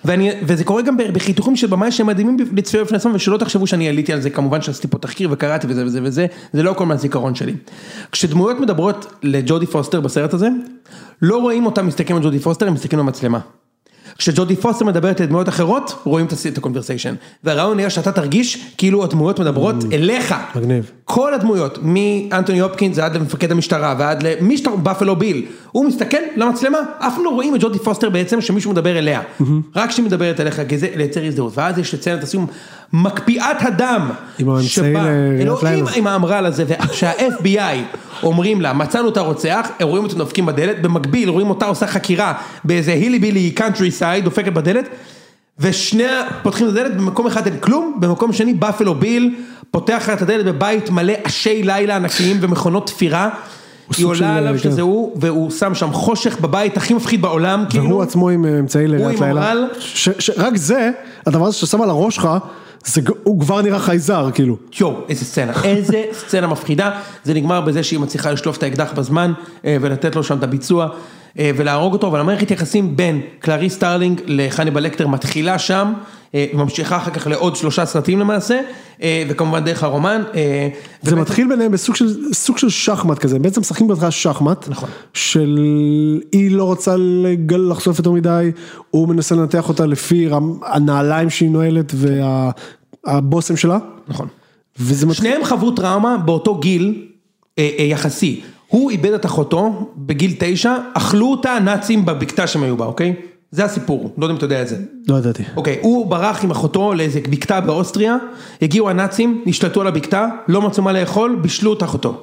S3: ואני, וזה קורה גם בחיתוכים של במאי שהם מדהימים לצפייה בפני עצמם, ושלא תחשבו שאני עליתי על זה, כמובן שעשיתי פה תחקיר וקראתי וזה וזה וזה, זה לא הכל מהזיכרון שלי. כשדמויות מדברות לג'ודי פוסטר בסרט הזה, לא רואים אותם מסתכלים על ג'ודי פוסטר, הם מסתכלים במצלמה. כשג'ודי פוסטר מדברת לדמויות אחרות, רואים את הס- את הקונברסיישן. והרעיון היה שאתה תרגיש כאילו הדמויות מדברות אליך.
S2: Mm. מגניב.
S3: כל הדמויות, מאנטוני הופקינס ועד למפקד המשטרה ועד למי שאתה, בפלו ביל, הוא מסתכל למצלמה, אף פעם לא רואים את ג'ודי פוסטר בעצם שמישהו מדבר אליה,
S2: Mm-hmm.
S3: רק כשהיא מדברת אליך, כי זה לייצר הזדהות, ואז יש לציין את הסיום, מקפיאת הדם,
S2: עם האמצעי לראיית
S3: אלוהים
S2: לילה.
S3: עם האמרל הזה, וכשה-FBI אומרים לה, מצאנו את הרוצח, הם רואים אותו דופקים בדלת, במקביל רואים אותה עושה חקירה באיזה הילי בילי קאנטרי סייד, דופקת בדלת, ושני פותחים את הדלת, במקום אחד אין כלום, במקום שני באפלו ביל, פותח לה את הדלת בבית מלא אשי לילה ענקיים ומכונות תפירה. היא
S2: סוג של-
S3: עולה עליו
S2: כן.
S3: שזה הוא, והוא שם שם חושך בבית הכי מפחיד בעולם, כאילו.
S2: והוא עצמו עם אה, אמצעי לראיית
S3: עם
S2: לילה.
S3: אמרל.
S2: ש- ש- רק זה, הדבר הזה ששם על הראש שלך, זה ג- הוא כבר נראה חייזר, כאילו.
S3: יואו, איזה סצנה, איזה סצנה מפחידה, זה נגמר בזה שהיא מצליחה לשלוף את האקדח בזמן אה, ולתת לו שם את הביצוע אה, ולהרוג אותו, אבל המערכת יחסים בין קלריס סטארלינג לחניבל לקטר מתחילה שם, אה, ממשיכה אחר כך לעוד שלושה סרטים למעשה, אה, וכמובן דרך הרומן. אה,
S2: זה
S3: ובעצם-
S2: מתחיל ביניהם בסוג של, סוג של שחמט כזה, הם בעצם משחקים בהתחלה שחמט,
S3: נכון.
S2: של היא לא רוצה לגל, לחשוף יותר מדי, הוא מנסה לנתח אותה לפי רמ, הנעליים שהיא נועלת והבושם שלה,
S3: נכון.
S2: וזה מתחיל,
S3: שניהם חוו טראומה באותו גיל אה, אה, יחסי. הוא איבד את אחותו בגיל תשע, אכלו אותה הנאצים בבקתה שהם היו בה, אוקיי? זה הסיפור, לא יודע אם אתה יודע את זה.
S2: לא ידעתי,
S3: אוקיי, הוא ברח עם אחותו לאיזה בקתה באוסטריה, הגיעו הנאצים, נשלטו על הבקתה, לא מצאו מה לאכול, בישלו את אחותו.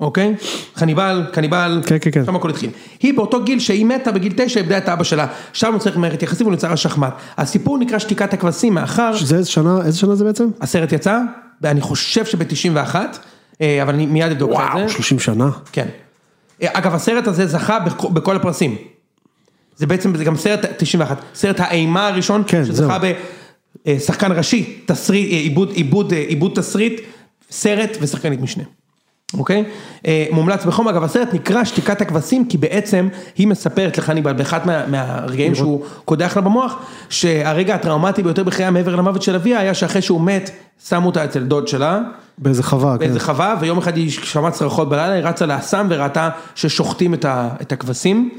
S3: אוקיי? חניבל, קניבל,
S2: כן, כן, כן.
S3: שם הכל התחיל. היא באותו גיל שהיא מתה בגיל תשע, איבדה את אבא שלה, שם נוצרת מערכת יחסים ונוצר השחמט. הסיפור נקרא שתיקת הכבשים, מאחר...
S2: שזה איזה שנה, איזה שנה זה בעצם?
S3: הסרט יצא, ואני חושב שב-91, אבל אני מיד אבדוק לך את זה.
S2: 30 שנה,
S3: כן. אה, אגב, הסרט הזה זכה בכ- בכל הפרסים. זה בעצם, זה גם סרט 91, סרט האימה הראשון,
S2: כן,
S3: שזכה
S2: זהו.
S3: בשחקן ראשי, תסריט, אה, עיבוד, עיבוד, אה, עיבוד תסריט, סרט ושחקנית משנה. אוקיי? אה, מומלץ בחום, אגב הסרט נקרא שתיקת הכבשים כי בעצם היא מספרת לחניבל באחד מה, מהרגעים שהוא קודח לה במוח שהרגע הטראומטי ביותר בחייה מעבר למוות של אביה היה שאחרי שהוא מת שמו אותה אצל דוד שלה
S2: באיזה חווה, כן.
S3: באיזה חווה, ויום אחד היא שמעה צרחות בלילה, היא רצה לאסם וראתה ששוחטים את, ה, את הכבשים,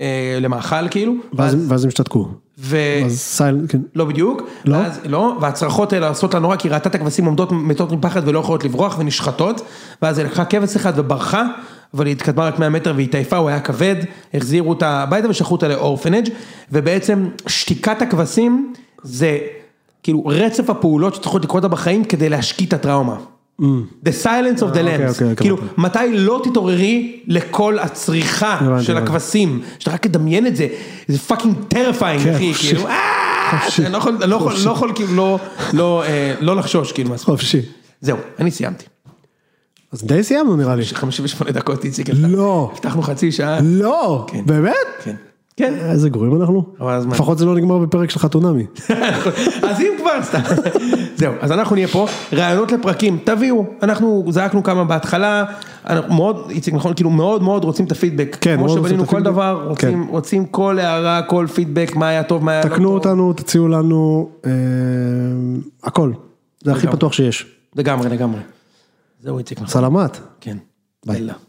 S3: אה, למאכל כאילו,
S2: ואז, ואז הם השתתקו,
S3: ו...
S2: אז סייל, כן,
S3: לא בדיוק,
S2: לא?
S3: ואז, לא, והצרחות האלה עושות לה נורא כי היא ראתה את הכבשים עומדות מתות מפחד ולא יכולות לברוח ונשחטות, ואז היא לקחה כבש אחד וברחה, אבל היא התקדמה רק 100 מטר והיא התעייפה, הוא היה כבד, החזירו אותה הביתה ושלחו אותה לאורפנג', ובעצם שתיקת הכבשים זה כאילו רצף הפעולות שצריכות לקרות לה בחיים כדי להשקיט את הטראומה. The silence of the
S2: Mm. אוקיי,
S3: lambs,
S2: אוקיי,
S3: כאילו
S2: קבלתי.
S3: מתי לא תתעוררי לכל הצריכה
S2: הבנתי,
S3: של
S2: הבנתי.
S3: הכבשים, שאתה רק תדמיין את זה, זה פאקינג טרפיינג
S2: כן,
S3: אחי,
S2: חופשי.
S3: כאילו, אה,
S2: חופשי.
S3: אני לא יכול- לא יכול- לא יכול כאילו לא- לא, אה, לא לחשוש כאילו מהסוף.
S2: חופשי,
S3: זהו, אני סיימתי.
S2: אז די סיימנו נראה לי,
S3: 58 דקות איציק.
S2: לא.
S3: הבטחנו חצי שעה.
S2: לא, באמת?
S3: כן. כן.
S2: איזה גרועים אנחנו,
S3: אבל הזמן.
S2: לפחות זה לא נגמר בפרק של חתונמי, לא.
S3: אז אם כבר סתם. זהו, אז אנחנו נהיה פה, רעיונות לפרקים, תביאו, אנחנו זעקנו כמה בהתחלה, אנחנו מאוד, איציק נכון, כאילו מאוד מאוד רוצים את הפידבק.
S2: כן, מאוד
S3: כמו
S2: רוצים
S3: שבנינו
S2: את
S3: כל
S2: הפידבק. כן.
S3: דבר, רוצים- רוצים כל הערה, כל פידבק, מה היה טוב, מה היה לא טוב.
S2: תקנו אותנו, תציעו לנו, אה, הכל, זה הכי
S3: לגמרי.
S2: פתוח שיש,
S3: לגמרי, לגמרי. זהו איציק נכון.
S2: סלמת.
S3: כן.
S2: ביי.
S3: יאללה.